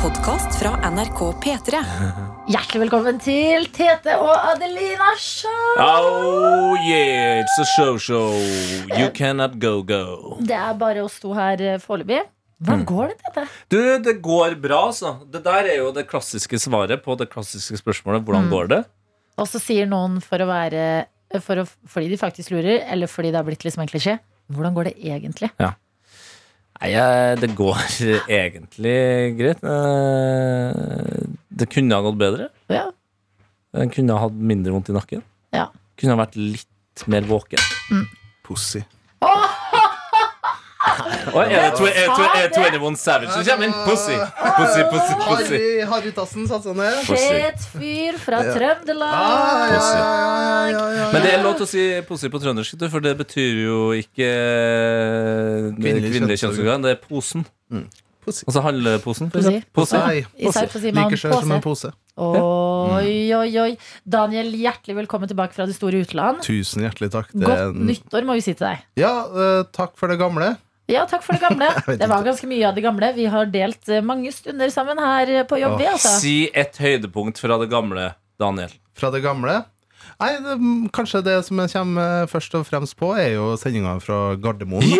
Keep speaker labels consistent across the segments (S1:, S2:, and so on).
S1: podkast fra NRK P3.
S2: Hjertelig velkommen til Tete og Adelina Show!
S3: Oh yeah, it's a show show. You cannot go go.
S2: Det er bare oss to her eh, foreløpig.
S4: Mm.
S2: Hvordan går det, Tete?
S3: Du, det går bra, altså. Det der er jo det klassiske svaret på det klassiske spørsmålet. Hvordan går det?
S2: Og så sier noen for å være eh, for å, Fordi de faktisk lurer, eller fordi det har blitt liksom en klisjé. Hvordan går det egentlig?
S3: Nei, eh, det går egentlig greit. Eh, Det kunne ha gått bedre.
S2: Ja.
S3: Jeg kunne ha hatt mindre vondt i nakken.
S2: Ja.
S3: Kunne ha vært litt mer våken.
S4: Pussy.
S3: Oi, er det tw- er det tw- er det 21 Savage som kommer inn? Pussy, pussy, pussy. pussy.
S4: Harry, Harry Tassen satt sånn her.
S2: Fet fyr fra
S4: Ah,
S2: Trøndelag.
S4: ja, ja, ja, ja, ja.
S3: Men det er lov til å si pussy på trøndersk, vet du, for det betyr jo ikke eh,
S4: Kvinnelig
S3: kvinnelig
S4: kjønnsorgan.
S3: kjønnsorgan. Det er posen.
S4: Pussy.
S3: Altså halvposen. for
S2: Pussy.
S3: eksempel. Pussy.
S4: Nei,
S2: Især
S4: pussy.
S2: på sier man
S4: Like skjør som en
S2: pose.
S4: pose.
S2: Oi,
S4: Mm.
S2: oi, oi. Daniel, hjertelig velkommen tilbake fra det store utland.
S4: Tusen hjertelig takk. Det er
S2: Godt
S4: en-
S2: nyttår, må vi si til deg.
S4: Ja, eh, takk for det gamle.
S2: Ja, takk for det gamle.
S4: vet
S2: Det var
S4: ikke.
S2: ganske mye av det gamle. Vi har delt eh, mange stunder sammen her eh, på jobb, vi, altså.
S3: Si et høydepunkt fra det gamle, Daniel.
S4: Fra det gamle. Nei, det, kanskje det som jeg kommer eh, først og fremst på, er jo sendinga fra Gardermoen.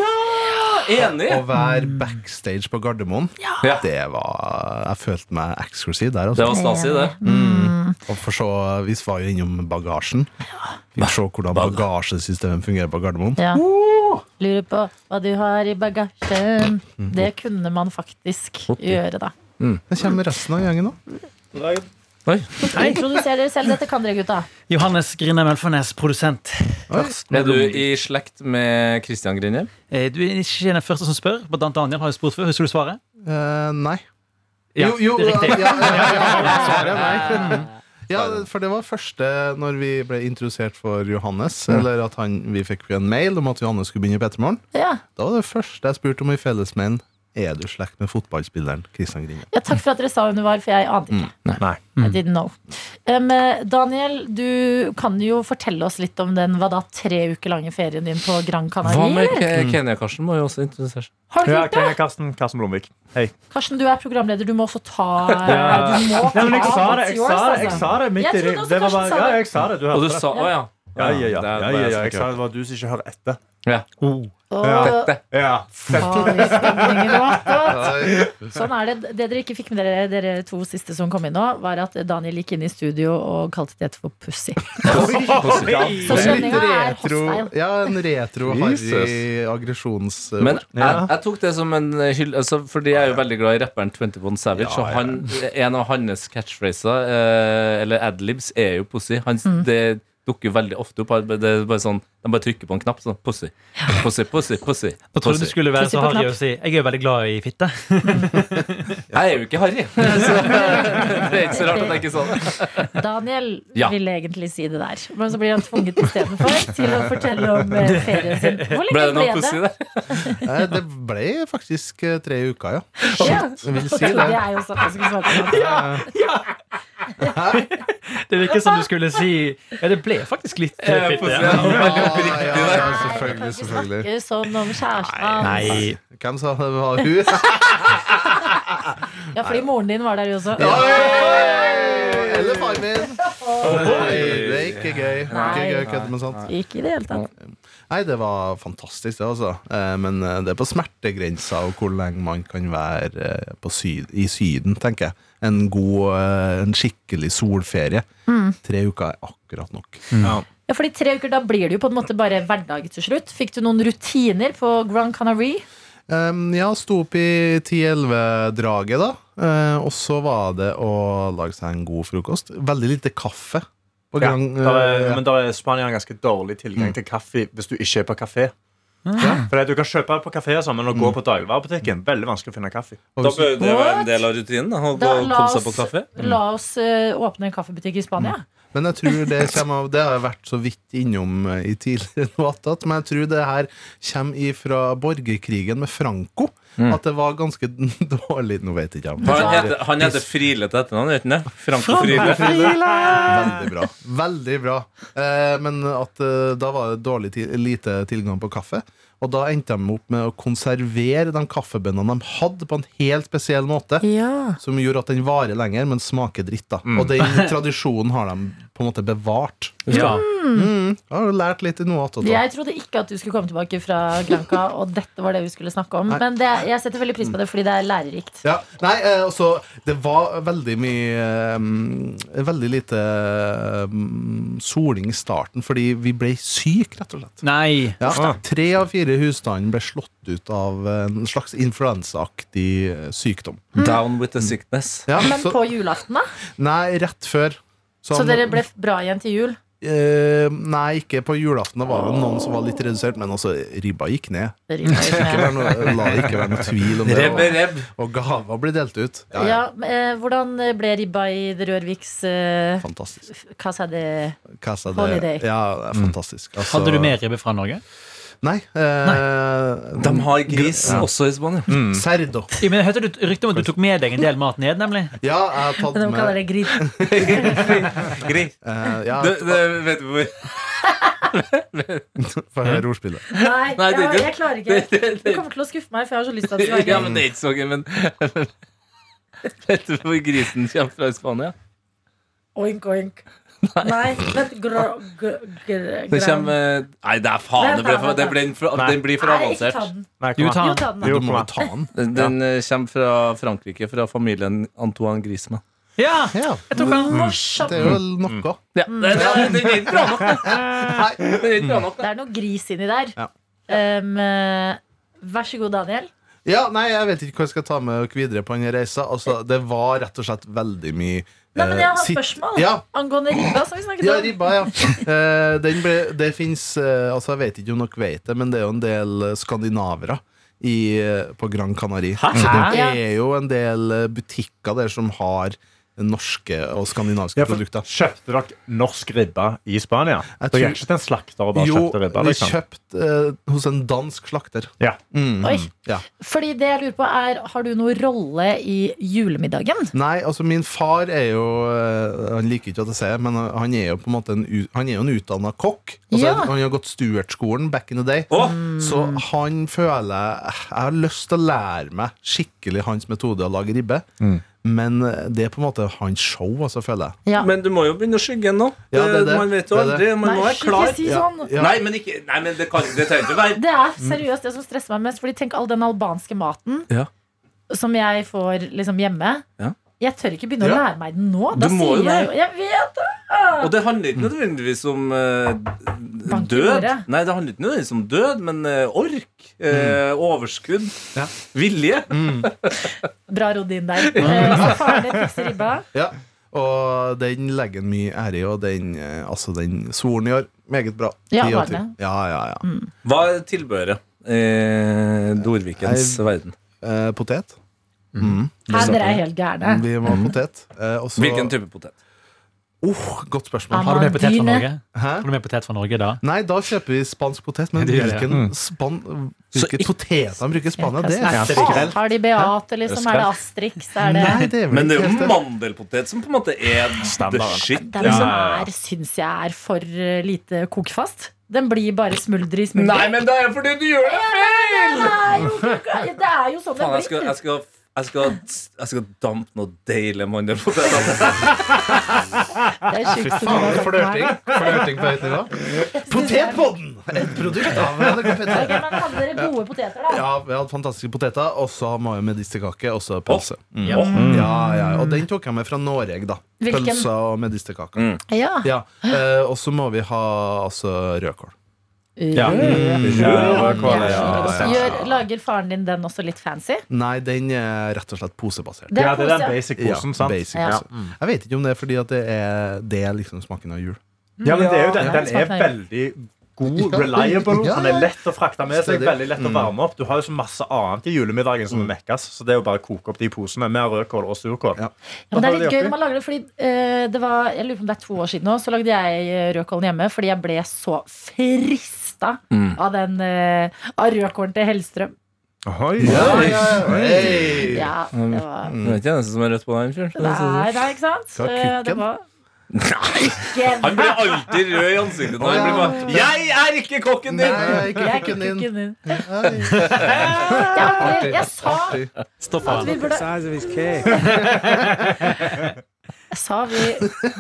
S3: Enig!
S4: Å være backstage på Gardermoen,
S3: Ja.
S4: det var Jeg følte meg eksklusiv der.
S3: Det
S4: Også.
S3: var stas i det.
S4: Og for så, vi var jo innom bagasjen. Fikk se hvordan bagasjesystemet fungerer på Gardermoen.
S2: Ja. Lurer på hva du har i bagasjen.
S5: Mhm.
S2: Det kunne man faktisk gjøre, da.
S4: Det kommer resten av gjengen nå.
S3: Oi.
S2: Introduser dere selv. Dette kan dere, gutta.
S6: Johannes Grine Mølfernes, produsent.
S3: Er du i slekt med Christian Grinje?
S6: Eh, Du er ikke den første som spør. Blant annet Daniel har jo spurt før. Husker du svaret?
S4: Eh, nei.
S6: Ja,
S4: jo, jo,
S6: det er
S4: Ja,
S6: riktig.
S4: ja, ja, ja, svaret er nei. Ja, for det var første når vi ble introdusert for Johannes. Eller at han, vi fikk en mail om at Johannes skulle begynne i P3 Morgen.
S2: Ja.
S4: Da var det første jeg spurte om i fellesmailen. Er du slekt med fotballspilleren Kristian Grinje?
S2: ja, takk for at dere sa hvem du var, for jeg ante ikke.
S5: Mm,
S3: Nei.
S2: I didn't know. Um, eh, Daniel, du kan jo fortelle oss litt om den hva da, tre uker lange ferien din på Gran
S3: Hva
S2: Canaria.
S3: med Ke- Kenya-Karsten? Må jo også interessere seg.
S2: Har du
S5: Ja,
S2: gjort det?
S5: Kenya Karsten, Karsten Blomvik. Hei.
S2: Karsten, du er programleder. Du må også ta
S5: Ja.
S2: Du må
S5: Nei, men jeg
S2: ta
S5: sa det,
S2: what's
S5: jeg
S2: yours,
S5: sa det, jeg
S2: altså.
S5: sa det midt
S2: Jeg
S5: i
S2: trodde også
S5: det.
S2: Karsten
S5: var bare-
S2: sa det.
S5: Ja, jeg sa det. Du
S3: Og
S5: hørte
S3: du
S5: det.
S3: sa Å ja.
S5: Ja, ja, ja.
S3: Det er
S5: ja, ja,
S3: bare
S5: ja. Jeg
S3: så
S5: sa
S3: kult.
S5: det var du som ikke hørte etter.
S2: Åh,
S5: Ja.
S2: farlig stemning i det, altså.
S4: Nei,
S2: Sånn er det. Det dere ikke fikk med dere, dere to siste som kom inn nå, var at Daniel gikk inn i studio og kalte det for pussy. Så
S4: det er
S2: skjønninga
S4: litt
S2: er
S4: retro,
S2: hostile.
S4: ja, en retro harry aggresjons...
S3: Men jeg,
S5: Ja.
S3: jeg tok det som en hyll altså, Fordi jeg er jo veldig glad i rapperen 21 Savage
S4: Ja, ja.
S3: Og han, en av hans catchphraser eh, Eller adlibs er jo pussy han,
S2: Mm.
S3: Det dukker jo veldig ofte opp Det er bare sånn De bare trykker på en knapp sånn Pussy, pussy, pussy, pussy,
S6: Jeg trodde du
S3: pussy.
S6: skulle være
S2: Pussy
S6: så
S2: på
S6: harry
S2: knapp.
S6: og si jeg er jo veldig glad i fitte.
S3: Jeg er jo ikke Harry Så det er ikke så rart at jeg ikke sa det
S2: Daniel
S3: Ja.
S2: ville egentlig si det der, men så blir han tvunget istedenfor til å fortelle om eh, ferien sin. Hvor lenge
S3: Ble det noe pussy der?
S4: Nei, Eh, det ble faktisk eh, tre uker, ja.
S2: Ja.
S4: Jeg vil si
S2: Det
S4: det.
S2: er jo sånn jeg skulle svare på det.
S6: Det virker som du skulle si Ja, det ble faktisk litt eh,
S3: Eh,
S6: fitte.
S3: pussy,
S6: ja.
S3: ja. Veldig
S4: Ja,
S3: oppriktig
S4: ja,
S3: der
S4: ja,
S2: Nei, du kan
S4: selvfølgelig,
S2: ikke
S4: selvfølgelig.
S2: snakke sånn om kjæresten hans.
S6: Nei.
S4: Hvem sa det var hun?
S2: Ja, fordi moren din var der jo også.
S4: Oi! Eller far min. Oi, det er ikke gøy. Det er Ikke gøy å kødde med sånt.
S2: Ikke i det hele tatt.
S4: Nei, det var fantastisk, det, altså. Eh, Men eh, det er på smertegrensa og hvor lenge man kan være eh, på syd, i Syden, tenker jeg. En god, eh, en skikkelig solferie. Tre uker er akkurat nok.
S2: Ja, fordi tre uker, da blir det jo på en måte bare hverdag til slutt. Fikk du noen rutiner på Grand Canary?
S4: Um, ja, sto opp i 10-11-draget, da. Eh, og så var det å lage seg en god frokost. Veldig lite kaffe. På
S5: Ja,
S4: gang-
S5: der er,
S4: eh,
S5: men der er Spania har ganske dårlig tilgang til kaffe hvis du ikke er på kafé. Fordi at Du kan kjøpe på kafeer sammen og gå på dagligvarebutikken. Veldig vanskelig å finne kaffe.
S4: og hvis-
S3: bør
S2: det være en
S3: del av rutinen Å
S2: Da, la oss, la
S3: Mm.
S2: oss eh, åpne en kaffebutikk i Spania.
S4: Men jeg tror det kommer av Det har jeg vært så vidt innom eh, i tidligere notat, men jeg tror det her kommer ifra borgerkrigen med Franco. at det var ganske dårlig Nå vet jeg ikke om det
S3: Han
S4: er
S3: heter, han heter Friele til etternavn, gjør han ikke det? Franco Friele.
S4: Veldig bra. Veldig bra. Eh, men at eh, da var det dårlig ti lite tilgang på kaffe. Og da endte de opp med å konservere de kaffebønnene de hadde, på en helt spesiell måte.
S2: Ja.
S4: Som gjorde at den varer lenger, men smaker dritt. da Og den tradisjonen har de på en måte bevart.
S3: Ja.
S4: Jeg har jo lært litt i noe attåt. da.
S2: Jeg trodde ikke at du skulle komme tilbake fra Granca, og dette var det vi skulle snakke om. Men det, jeg setter veldig pris på det, fordi det er lærerikt.
S4: Ja, nei, eh, altså Det var veldig mye eh, Veldig lite eh, soling i starten, fordi vi ble syke, rett og slett.
S6: Nei.
S4: Ja, Tre av fire husstander ble slått ut av en slags influensaaktig eh, sykdom.
S3: Down with the sickness.
S4: Ja,
S2: Men
S4: så,
S2: på julaften, da?
S4: nei, rett før.
S2: Så
S4: han-
S2: dere ble bra igjen til jul?
S4: eh, Nei, ikke på julaften. Det var vel noen som var litt redusert, men altså, ribba gikk ned.
S2: Det rimer jo ikke
S4: Ikke
S2: med.
S4: vær noe, la det ikke være noe tvil om det.
S3: Reb,
S4: Og,
S3: reb.
S4: og gaver ble delt ut. Ja, ja.
S2: Ja, men, eh, hvordan ble ribba i The Rørviks eh,
S4: Fantastisk.
S2: Hva sa det?
S4: Hva sa det?
S2: Holiday.
S4: Ja, det er fantastisk. Altså-
S6: Mm. Hadde du mer ribbe fra Norge?
S4: Nei. Eh,
S3: De har gris også i Spania.
S6: Mm.
S4: Serdo.
S6: Jeg mener, hørte du rykte om at du tok med deg en del mat ned, nemlig?
S4: Ja, jeg har tatt
S2: De kaller
S4: med
S2: det gris.
S3: Gris.
S4: eh, Ja,
S3: Det, det vet du
S2: Altså,
S3: hvor
S4: få høre ordspillet.
S2: Nei,
S3: Nei, det-
S2: jeg, jeg klarer ikke.
S3: det-
S2: Du kommer til å skuffe meg, for jeg har så lyst til at det skal være
S3: Ja,
S2: gøy.
S3: men det er ikke så gøy, men Vet du hvor grisen kommer fra i Spania?
S2: Oink, oink. Nei, vent grå, gr, gr,
S3: Det kommer eh, Nei, det er faen, det blir for, det blir for, den blir for
S2: Nei, ikke
S3: avansert.
S2: ta den.
S5: Nei,
S6: Jo,
S5: kom
S6: ta
S5: an.
S2: Jo,
S6: den.
S2: ta den. da.
S4: Du
S5: Jo,
S4: må
S5: kom
S4: jo
S5: an.
S4: ta den.
S3: Den, den eh, kommer fra Frankrike, fra familien Antoine Griezmann.
S6: Ja!
S4: Ja,
S2: Morsomt.
S4: det er jo noe.
S3: Ja,
S2: Mm.
S3: den, den, den er ikke bra nok, da.
S4: Nei.
S3: Den er ikke bra nok, da.
S2: Det er noe gris inni der.
S4: Ja.
S2: Um, eh, vær så god, Daniel.
S4: Ja, nei, jeg vet ikke hva jeg skal ta med dere videre på denne reisa. Altså, det var rett og slett veldig mye
S2: Nei, men jeg har
S4: eh, sitt-
S2: spørsmål
S4: Ja,
S2: angående ribba. som vi snakket
S4: ja
S2: om
S4: ribba, ja. Eh, den ble, det fins Altså, jeg vet ikke om dere vet det, men det er jo en del eh, skandinavere i, eh, på Gran Canaria. Så det
S2: Hæ?
S4: er jo en del eh, butikker der som har norske og skandinaviske
S5: Ja, for-
S4: produkter.
S5: Kjøpte dere norsk ribbe i Spania?
S4: Jeg
S5: Dere
S4: tror-
S5: gikk ikke til en slakter og bare
S4: Jo,
S5: kjøpte ribbe?
S4: vi
S5: Liksom.
S4: kjøpte eh, hos en dansk slakter.
S5: Ja.
S4: Mm,
S2: Oi.
S4: ja.
S2: Fordi det jeg lurer på er, Har du noen rolle i julemiddagen?
S4: Nei, altså min far er jo eh, Han liker ikke at jeg sier det, men han er jo på en måte en, u- Han er jo en utdanna kokk. Altså,
S2: Ja.
S4: Han har gått Stuart-skolen back in the day.
S3: Å,
S4: Så han føler eh, Jeg har lyst til å lære meg skikkelig hans metode å lage ribbe. Men eh, det er på en måte hans show, altså, føler jeg.
S2: Ja.
S3: men du må jo begynne å skygge nå. Eh,
S4: Ja, det er det.
S3: Man vet jo
S4: Det er
S3: aldri.
S4: det.
S3: Man må
S2: Nei,
S3: være klar.
S2: ikke si
S4: Ja,
S2: sånn.
S4: ja. Mm.
S3: Nei, men, ikke, nei, men det, kan, det trenger ikke å være
S2: Det er seriøst det som stresser meg mest. Fordi Tenk all den albanske maten
S3: Ja.
S2: som jeg får liksom hjemme.
S3: Ja.
S2: Jeg tør ikke begynne å
S4: Ja.
S2: lære meg den nå. Da
S3: Du må jo
S2: sier jeg jo Jeg vet det!
S3: Og det handler ikke nødvendigvis om eh,
S2: Bank i
S3: død.
S2: bordet.
S3: Nei, det handler ikke nødvendigvis om død, men eh, ork. eh, Overskudd.
S4: Mm. Ja. Mm.
S3: Vilje.
S2: Bra rodd inn der. Eh, Så faren din fikser ribba.
S4: Ja. Og den legger han mye ære i, og den, eh, altså, den svoren i år, meget bra.
S2: Ja,
S4: Ti av
S2: var
S4: ti.
S2: det? Mm.
S4: Ja, ja, ja.
S3: Hva er tilbehøret? Eh, Dorvikens verden.
S4: Eh, potet.
S2: Her dere er helt gærne.
S4: Vi må ha potet. Eh, og så-
S3: Hvilken type potet?
S4: Oh, godt spørsmål.
S6: Har du med potet fra
S2: Amandine.
S6: Norge?
S4: Hæ?
S6: Har du med potet fra Norge da?
S4: Nei, da kjøper vi spansk potet. Men
S6: Det gjør jeg.
S4: hvilken span,
S3: Så
S4: hvilke poteter de bruker i Spania, det
S2: Nei,
S4: er
S6: Asterix.
S4: faen-
S2: Har de Beate, liksom? Er det Astrix? Er det
S4: Nei, det er
S3: Men
S4: vel
S3: det
S4: ikke
S3: er jo
S4: helt det.
S3: mandelpotet som på en måte er the
S5: Standarden.
S3: shit.
S2: Den som er, liksom- syns jeg er for eh, lite kokefast. Den blir bare smuldre i smuldre.
S3: Nei, men det er fordi du gjør det feil!
S2: Det er jo sånn det
S3: Faen, jeg skal,
S2: blir.
S3: jeg skal jeg skal, jeg skal dampe noe deilig mandelpotet.
S2: Det er sjukt. som det er sånn her.
S4: Flørting. Flørting på høyt nivå. Potetpodden! Et produkt av NRK
S2: Ok,
S4: P3.
S2: men hadde dere gode poteter, da?
S4: Ja, vi hadde fantastiske poteter, og så har vi med medisterkake og så pølse. Mm.
S6: Ja.
S4: Ja, ja, og den tok jeg med fra Norge, da.
S2: Hvilken?
S4: Pølser og medisterkake.
S2: Ja.
S4: Ja. Eh, og så må vi ha altså, rødkål.
S6: Ja.
S2: Det er
S5: Ja,
S2: så godt. Gjør, lager faren din den også litt fancy?
S4: Nei, den er rett og slett posebasert.
S2: Det
S5: ja, det er den
S2: koselig.
S5: basic posen, sant?
S4: basic
S2: Ja.
S4: pose. Jeg vet ikke om det er fordi at det er det er liksom smaken av jul.
S5: Ja, men det er jo den, den er
S2: Smaker den.
S5: veldig god, reliable.
S4: Ja, ja, ja.
S5: Den er lett å frakte med seg,
S4: Stødig.
S5: veldig lett å varme opp. Du har jo så masse annet i julemiddagen som må mekkes, så det er jo bare å koke opp de posene med rødkål og surkål.
S4: Ja.
S2: Ja, men det er
S5: Hva har
S2: litt
S5: de
S2: gøy
S5: oppi?
S2: når man lager det, fordi eh, det var, jeg lurer på om det er to år siden nå, så lagde jeg eh, rødkålen hjemme fordi jeg ble så frista av den eh, av rødkålen til Hellstrøm.
S7: Ohoi.
S4: Hei.
S2: Ja, det var
S3: Det er ikke eneste som er rødt på den fyren.
S2: Nei, nei, ikke sant?
S4: Ta kukken.
S2: Eh, Det var
S3: Han blir alltid rød i ansiktet når han blir bare Jeg er ikke kokken
S4: Nei,
S3: din!
S4: jeg har ikke
S2: Jeg
S4: kukken din.
S2: kukken din.
S4: Hei.
S2: Jeg, jeg sa
S4: Artig.
S6: Stopp
S2: at
S6: han.
S2: vi burde
S7: Size of his cake.
S2: Jeg sa vi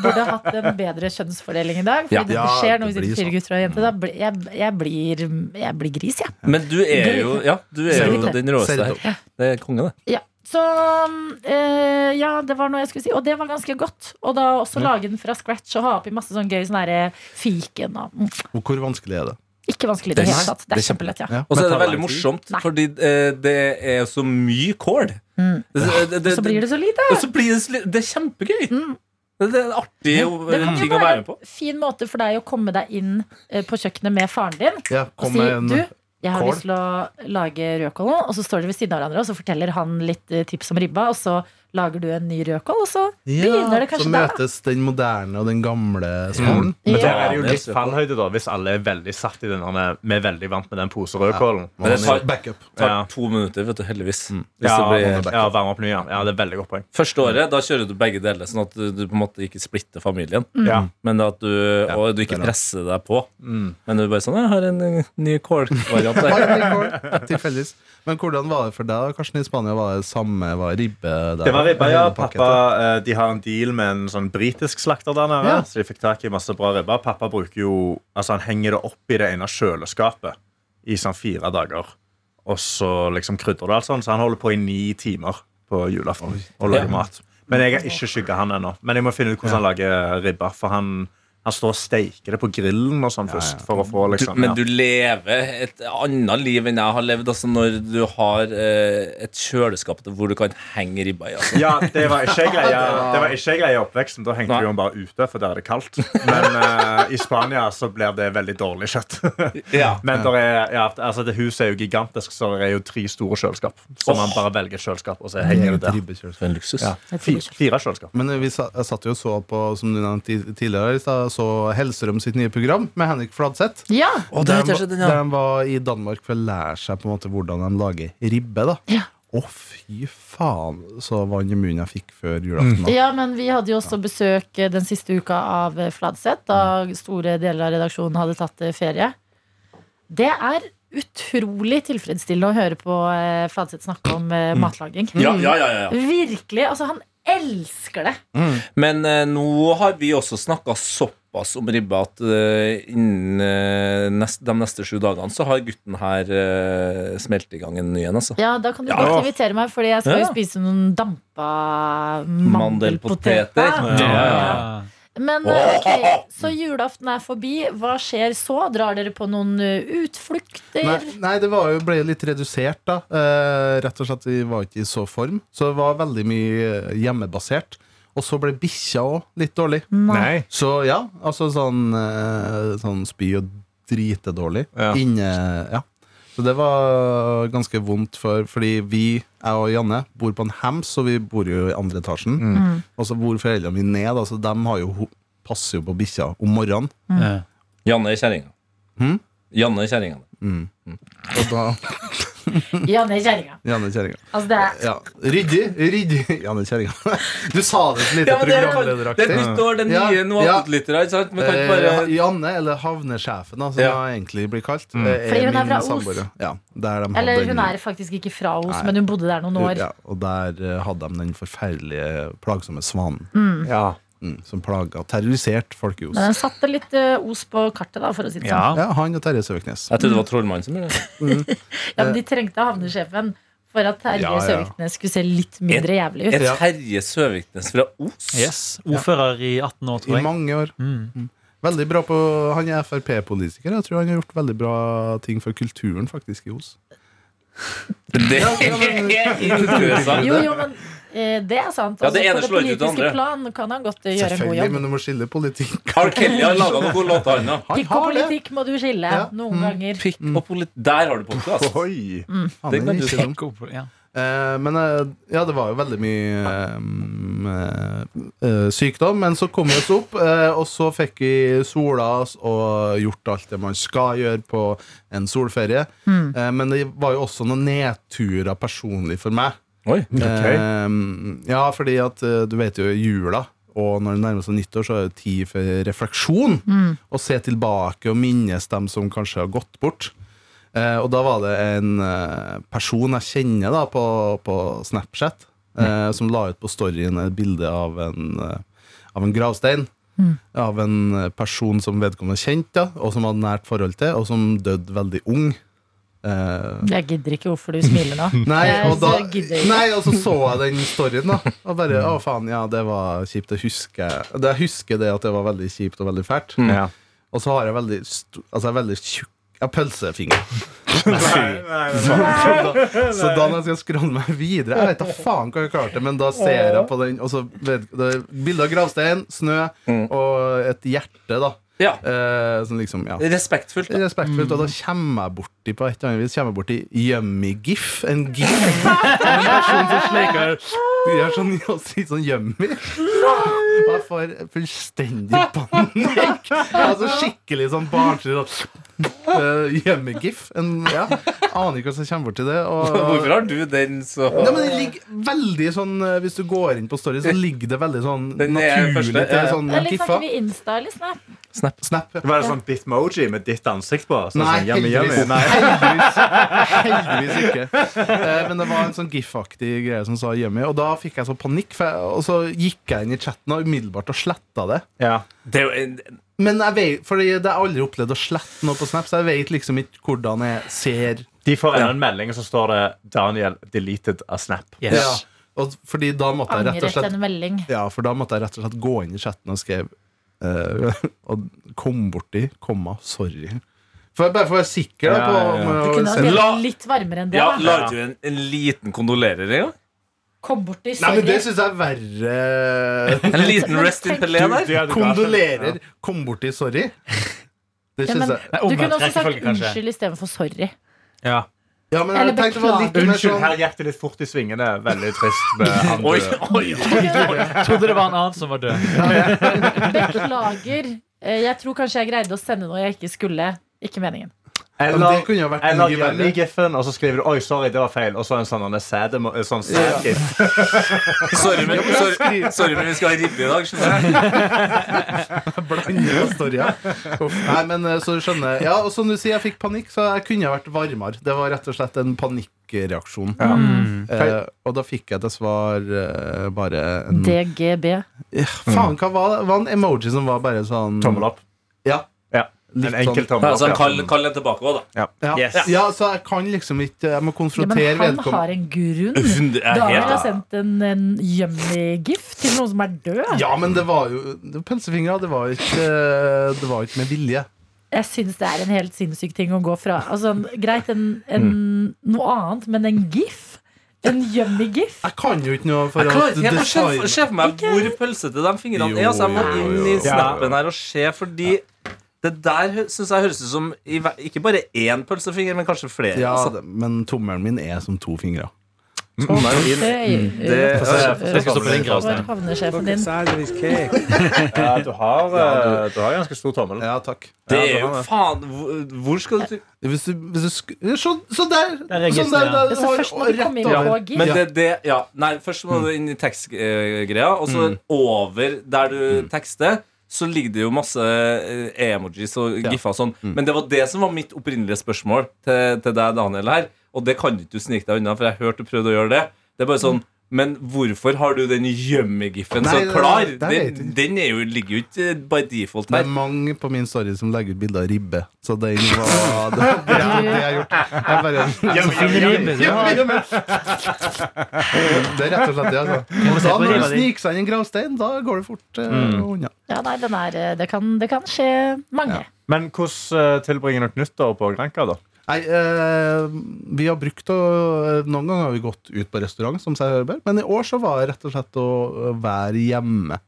S2: burde hatt en bedre kjønnsfordeling i dag. Fordi
S3: Ja.
S2: det
S4: Ja,
S2: skjer når vi
S4: det
S2: sitter
S4: blir
S2: fire gutter og en jente. Da blir, jeg, jeg, blir, jeg blir gris, jeg.
S3: Men du er jo, ja, du er
S2: Ser
S3: jo
S2: ut det.
S3: den råeste
S4: Ser ut
S3: her. Det er konge, det.
S2: Ja. Så eh, ja, det var noe jeg skulle si. Og det var ganske godt. Og da også lage den fra scratch og ha oppi masse sånn gøy sånn derre fiken og mm,
S4: Og Hvor vanskelig er det?
S2: Ikke vanskelig i det
S3: Det er-
S2: hele tatt. Det er
S3: det er
S2: kjempelett, ja.
S4: Ja.
S3: Og så er det
S6: Men tar
S3: veldig
S6: lang tid?
S3: morsomt,
S2: Nei.
S3: fordi eh, det er så mye kål. Det, eh, det, det,
S2: Mm. Så blir det så lite.
S3: og så blir det, så li- det er kjempegøy! Det, det er en artig eh,
S2: Det kan jo
S3: ting å
S2: være
S3: være med på.
S2: en fin måte for deg å komme deg inn eh, på kjøkkenet med faren din
S4: Ja,
S2: og
S4: kom
S2: si
S4: med en
S2: du, jeg har
S4: kål."
S2: lyst til å lage rødkålen, og så står dere ved siden av hverandre, og så forteller han litt eh, tips om ribba, og så lager du en ny rødkål, og så begynner det
S4: Så
S2: kanskje der. da. Mm.
S4: møtes den moderne og den gamle skolen.
S5: Men der
S2: Ja.
S5: er det jo litt fallhøyde, da, hvis alle er veldig satt i den her med, Vi er veldig vant med den pose rødkålen.
S3: Men det tar,
S4: Backup.
S3: tar
S5: Ja.
S3: to minutter, vet du, heldigvis. Hvis
S5: Ja,
S3: det blir,
S5: ja, varme opp nye. Ja, det er veldig godt poeng.
S3: første året da kjører du begge deler, sånn at du, du på en måte ikke splitter familien.
S2: Mm.
S5: Ja.
S3: Men at du, og du ikke
S4: det er
S3: presser deg på. Men du er bare sånn 'Jeg har en eh, ny kålvariant
S4: Oi,
S3: der'.
S4: det blir kål. Tilfeldigvis. Men hvordan var det for deg, da, Karsten, i Spania? Var det samme var det ribbe der?
S5: Det var ribba, ja.
S4: Hele pakket,
S5: Pappa, eh, de har en deal med en sånn britisk slakter der nede.
S4: Ja.
S5: Så de fikk tak i masse bra ribber. Pappa bruker jo, altså han henger det opp i det ene kjøleskapet i sånn fire dager. Og så liksom krydder det alt sånn. Så han holder på i ni timer på julaften og lager
S3: Ja.
S5: mat. Men jeg har ikke skygga han ennå. Men jeg må finne ut hvordan han lager ribba. For han, han står og steiker det på grillen og sånn først. For å få
S3: Du,
S5: liksom
S3: men
S5: ja.
S3: du lever et annet liv enn jeg har levd. Altså når du har eh, et kjøleskap hvor du kan henge ribba i. Altså.
S5: Ja, det var ikke jeg greia Det var ikke jeg greia i oppveksten. Da hengte
S3: Nei.
S5: vi den bare ute, for der er det kaldt. Men eh, i Spania så blir det veldig dårlig kjøtt.
S3: Ja.
S5: Men der er, ja, altså, det huset er jo gigantisk, så det er jo tre store kjøleskap. Så man bare velger et kjøleskap, og så henger det
S4: Eget
S5: der.
S4: ribbekjøleskap.
S3: For en luksus.
S5: Ja.
S2: Jeg tror
S5: Fi-
S2: ikke.
S5: Fire kjøleskap.
S4: Men eh, vi sa, jeg satt jo og så på som du nevnte ti- tidligere, i stad, så Hellstrøm sitt nye program med Henrik Fladseth.
S2: Ja,
S4: Og
S3: det
S4: der,
S3: vet jeg ikke, den, ja.
S4: der han var i Danmark for å lære seg på en måte hvordan de lager ribbe. da
S2: Ja.
S4: Å, fy faen, så vann i munnen jeg fikk før julaften. da.
S2: ja, men vi hadde jo også besøk eh, den siste uka av eh, Fladseth, da store deler av redaksjonen hadde tatt eh, ferie. Det er utrolig tilfredsstillende å høre på eh, Fladseth snakke om eh, matlaging.
S3: Ja,
S4: Mm.
S3: ja, ja, ja.
S2: Virkelig. Altså, han elsker det.
S3: Men eh, nå har vi også snakka såpass om ribba at eh, innen eh, nest, de neste sju dagene så har gutten her eh, smelt i gang en ny en, altså.
S2: Ja, da kan du
S3: Ja.
S2: godt invitere meg, Fordi jeg skal jo
S3: Ja.
S2: spise noen dampa
S3: Mandelpoteter.
S2: mandelpoteter.
S3: Ja,
S6: Ja.
S2: Men eh, ok, så julaften er forbi. Hva skjer så? Drar dere på noen eh, utflukter?
S4: Nei, nei, det var jo, ble litt redusert, da. Eh, rett og slett, vi var ikke i så form. Så det var veldig mye eh, hjemmebasert. Og så ble bikkja òg litt dårlig.
S6: Mm.
S5: Nei.
S4: Så ja, altså sånn, eh, sånn spy og drite dårlig.
S5: Ja.
S4: Inne, ja. Så det var ganske vondt, for, fordi vi, jeg og Janne, bor på en hams, og vi bor jo i andre etasjen. Og så bor foreldrene mine ned, da, så de har jo, ho- passer jo på bikkja om morgenen.
S6: Ja.
S3: Janne er kjerringa.
S4: Hm?
S3: Janne er kjerringa.
S4: Og da
S2: Janne Kjerringa.
S4: Janne kjerringa.
S2: Altså, det er
S4: Ja. Ryddig, ryddig Janne kjerringa. Du sa det så lite
S3: det er
S4: programlederaktig.
S3: nytt år, det er
S4: Ja,
S3: nye
S4: ja.
S3: novatlyttere, ikke sant? Vi kan ikke
S4: Eh,
S3: bare
S4: Janne, eller havnesjefen, da, som
S3: Ja. Mm.
S4: jeg egentlig blir kalt. Eh,
S2: Fordi hun er fra Os.
S4: Ja, der de
S2: Eller
S4: hadde
S2: hun
S4: en-
S2: er faktisk ikke fra Os,
S4: Nei.
S2: men hun bodde der noen år.
S4: Ja, og der eh, hadde de den forferdelige, plagsomme svanen
S5: Ja.
S4: mm, som plaga terrorisert folk i Os.
S2: Men den satte litt eh, Os på kartet, da, for å si det
S6: Ja.
S2: sånn.
S4: Ja, han og Terje Søviknes.
S3: Jeg trodde det var trollmannen som gjorde det.
S2: Ja, men de trengte havnesjefen for at Terje
S4: eh, Ja, ja.
S2: Søviknes skulle se litt mindre jævlig ut.
S3: Er Terje Søviknes fra Os?
S6: Yes. Ordfører i 18 år, tror
S4: I
S6: jeg.
S4: mange år. Mm. Veldig bra på Han er Frp-politiker. Jeg tror han har gjort veldig bra ting for kulturen, faktisk, i Os.
S3: Det er interessant.
S2: Jo, jo, men eh, det er sant.
S3: Ja, det ene slår ikke ut det
S2: politiske
S3: andre.
S2: plan kan han godt eh, gjøre en god
S4: Selvfølgelig,
S2: jobb.
S4: men du må skille politikk.
S3: R. Kelly har laga noen gode låter, han, da.
S4: Han
S2: Pikk og
S4: har det.
S2: politikk må du skille
S4: Ja. Mm.
S2: noen ganger.
S3: Pikk og polit... Der har du podkast!
S5: Oi.
S4: Han
S3: det
S4: er
S3: kan du
S4: ikke
S3: si.
S4: dum.
S6: Ja.
S4: Eh, men eh, ja, det var jo veldig mye eh, eh, sykdom. Men så kom vi oss opp, eh, og så fikk vi sola oss og gjort alt det man skal gjøre på en solferie. Eh, men det var jo også noen nedturer personlig for meg.
S3: Oi.
S4: Eh, ja, fordi at eh, du vet jo i jula og når det nærmer seg nyttår, så er det tid for refleksjon. Og se tilbake og minnes dem som kanskje har gått bort. Eh, og da var det en eh, person jeg kjenner da på, på Snapchat, eh, som la ut på storyen et bilde av en, eh, av en gravstein. Av en eh, person som vedkommende kjente, og som hadde nært forhold til, og som døde veldig ung. Eh,
S2: Jeg gidder ikke hvorfor du smiler nå.
S4: Nei,
S2: Jeg
S4: og da,
S2: gidder ikke.
S4: nei, og så så jeg den storyen, da. Og bare Å, faen, ja, det var kjipt. Jeg husker, jeg husker det at det var veldig kjipt og veldig fælt.
S5: Ja.
S4: Og så har jeg veldig st- Altså, jeg er veldig tjukk Jeg har pølsefinger. Så da når jeg skal scrolle meg videre Jeg vet da faen hva jeg klarte, men da ser jeg på den, og så vet, det er Bilde av gravstein, snø og et hjerte, da.
S3: Ja.
S4: Eh, som liksom, ja.
S3: Respektfullt. da.
S4: Respektfullt, og da kommer jeg borti på et eller annet vis Kommer jeg borti yummy gif En gif En person som sleker Gjør sånn og sier sånn yummy Og jeg får fullstendig panikk Altså skikkelig sånn barnslig sånn, eh, Yummy gif en, ja, Aner ikke hva som kommer borti det og,
S3: Hvorfor har du den så
S4: Nei, men det ligger veldig sånn eh, Hvis du går inn på story så ligger det veldig sånn
S3: Den er
S4: Naturlig
S3: første, eh,
S4: til
S3: ja.
S4: sånn
S2: Eller
S4: giffa
S2: snakker vi Insta eller Snap?
S4: Snap ja.
S5: Var det sånn Bitmoji med ditt ansikt på? Sånn,
S4: Nei,
S5: sånn, yummy,
S4: heldigvis.
S5: yummy. Nei.
S4: Heldigvis, heldigvis ikke. Eh, Men det var en sånn GIF-aktig greie som sa 'yummy', og da fikk jeg så panikk. For jeg, og så gikk jeg inn i chatten og umiddelbart og sletta det.
S5: Ja.
S3: Det er jo en-
S4: Men jeg vet, fordi jeg har aldri opplevd å slette noe på Snap, så jeg vet liksom ikke hvordan jeg ser
S5: De får enda en melding, og så står det 'Daniel deleted a snap'.
S4: ja. og, Fordi da måtte jeg rett og
S2: Angret
S4: slett
S2: en melding.
S4: Ja, for da måtte jeg rett og slett gå inn i chatten og skrev eh, Og kom borti, komma, sorry. For jeg bare for å være sikker da,
S5: Ja,
S4: på
S5: ja, ja.
S4: om jeg
S2: Du kunne ha
S4: selv-
S3: La-
S2: delt litt varmere enn det.
S3: Ja,
S2: da.
S3: la ut en, en liten kondolerer en gang.
S2: Kom borti,
S4: Nei, men
S2: sorry.
S4: det syns jeg er verre.
S3: En liten rest in pelé der.
S4: Kondolerer. Kom borti, sorry. Det
S2: Ja, men-
S4: syns jeg.
S2: Du kunne
S6: Omvendt
S2: også sagt
S6: rekkefølge, kanskje.
S2: unnskyld istedenfor sorry.
S6: Ja.
S4: Ja, men jeg
S2: Eller
S4: tenkte det var litt mer
S5: Unnskyld,
S4: sånn
S5: her gikk det litt fort i svingene. Veldig trist. Med andre.
S3: Oi, oi, oi.
S6: Trodde det var en annen som var død.
S2: Beklager. Eh, Jeg tror kanskje jeg greide å sende noe jeg ikke skulle. Ikke meningen.
S4: Men det
S5: Eller,
S4: kunne jo vært
S5: eller
S4: mye verre.
S5: yummy-giffen, og så skriver du 'oi, sorry, det var feil', og så en sånn en sad, sånn sad gif.
S3: Sorry, men, sorry, sorry, men vi skal ha ribbe i dag. skjønner jeg.
S4: blande storyer. Uff. Nei, men eh, så skjønner jeg Ja, og som du sier, jeg fikk panikk, så jeg kunne ha vært varmere. Det var rett og slett en panikkreaksjon.
S2: Mm.
S4: Eh, og da fikk jeg til svar eh, bare en
S2: DGB.
S4: ja, Faen, hva var det? Det var en emoji som var bare sånn
S5: Tommel opp.
S4: Ja.
S5: Ja.
S4: Litt
S5: En enkel
S4: sånn-
S5: tommel opp.
S3: Altså,
S5: ja.
S3: kall, kall den tilbake òg, da.
S4: Ja.
S3: Yes.
S4: ja, så jeg kan liksom ikke Jeg
S2: Ja,
S4: må
S2: men
S4: konfrontere
S2: han
S4: vedkommende.
S2: har en grunn.
S3: Det er
S2: Daniel har
S3: helt-
S2: sendt en, en yummy-gift til noen som er død.
S4: Ja, men det var jo det var Pølsefingre, det var ikke, det var ikke med vilje.
S2: Jeg syns det er en helt sinnssyk ting å gå fra. Altså, en- greit, en, en, noe annet, men en gif? En yummy-gif?
S4: Jeg kan jo ikke noe for
S3: Jeg klarer
S4: å
S3: ikke helt å se
S4: designe
S3: se for meg hvor pølsete de fingrene er. Altså, jeg må
S4: Jo, jo,
S3: inn i
S4: jo.
S3: snappen her og se, fordi det der syns jeg høres ut som i hver- ikke bare én pølsefinger, men kanskje flere.
S4: ja,
S3: altså.
S4: det- Men tommelen min er som to fingre.
S3: Det-
S6: Jeg skal stå på din
S2: Hvor
S6: gravstein.
S2: havner sjefen din?
S5: Ja, du har, eh, du har ganske stor tommel.
S4: Ja, takk.
S3: Det er
S5: Ja,
S3: jo
S5: det var det.
S3: faen hvor- Hvor skal du trykke
S4: Hvis du, hvis du sk så, så der!
S6: Der registrerer
S4: sånn der,
S6: jeg.
S4: der,
S2: Ja, så
S4: og-
S2: først må
S4: og
S2: du
S4: rett
S2: komme inn
S4: over.
S2: på gif.
S3: Men
S4: Ja. Mm.
S3: det, det ja, Nei, først må du inn i tekstgreia, og så over der du
S4: Mm.
S3: tekster. Så ligger det jo masse eh, emojis og giffer og sånn.
S4: Mm.
S3: Men det var det som var mitt opprinnelige spørsmål til, til deg, Daniel, her. Og det kan du ikke snike deg unna, for jeg hørte du prøvde å gjøre det. Det er bare sånn Men hvorfor har du den gjemmegiffen så
S4: Mm. Nei, det-
S3: klar?
S4: det vet jeg
S3: Den,
S4: ikke.
S3: den er jo, ligger jo ikke eh, by default
S4: Det er
S3: her.
S4: mange på min story som legger ut bilder av ribbe. Så det var det, det, er det jeg har gjort. Jeg bare, det er rett og slett det, altså. Og da når du sniker seg inn i en gravstein, da går det fort eh,
S2: Mm.
S4: unna.
S2: Ja, nei, den er, eh, det, kan, det kan skje mange.
S5: Men hvordan eh, tilbringer dere nyttår på Granca, da?
S4: Nei, eh, vi har brukt å eh, Noen ganger har vi gått ut på restaurant, som seg hører bør, men i år så var det rett og slett å være hjemme.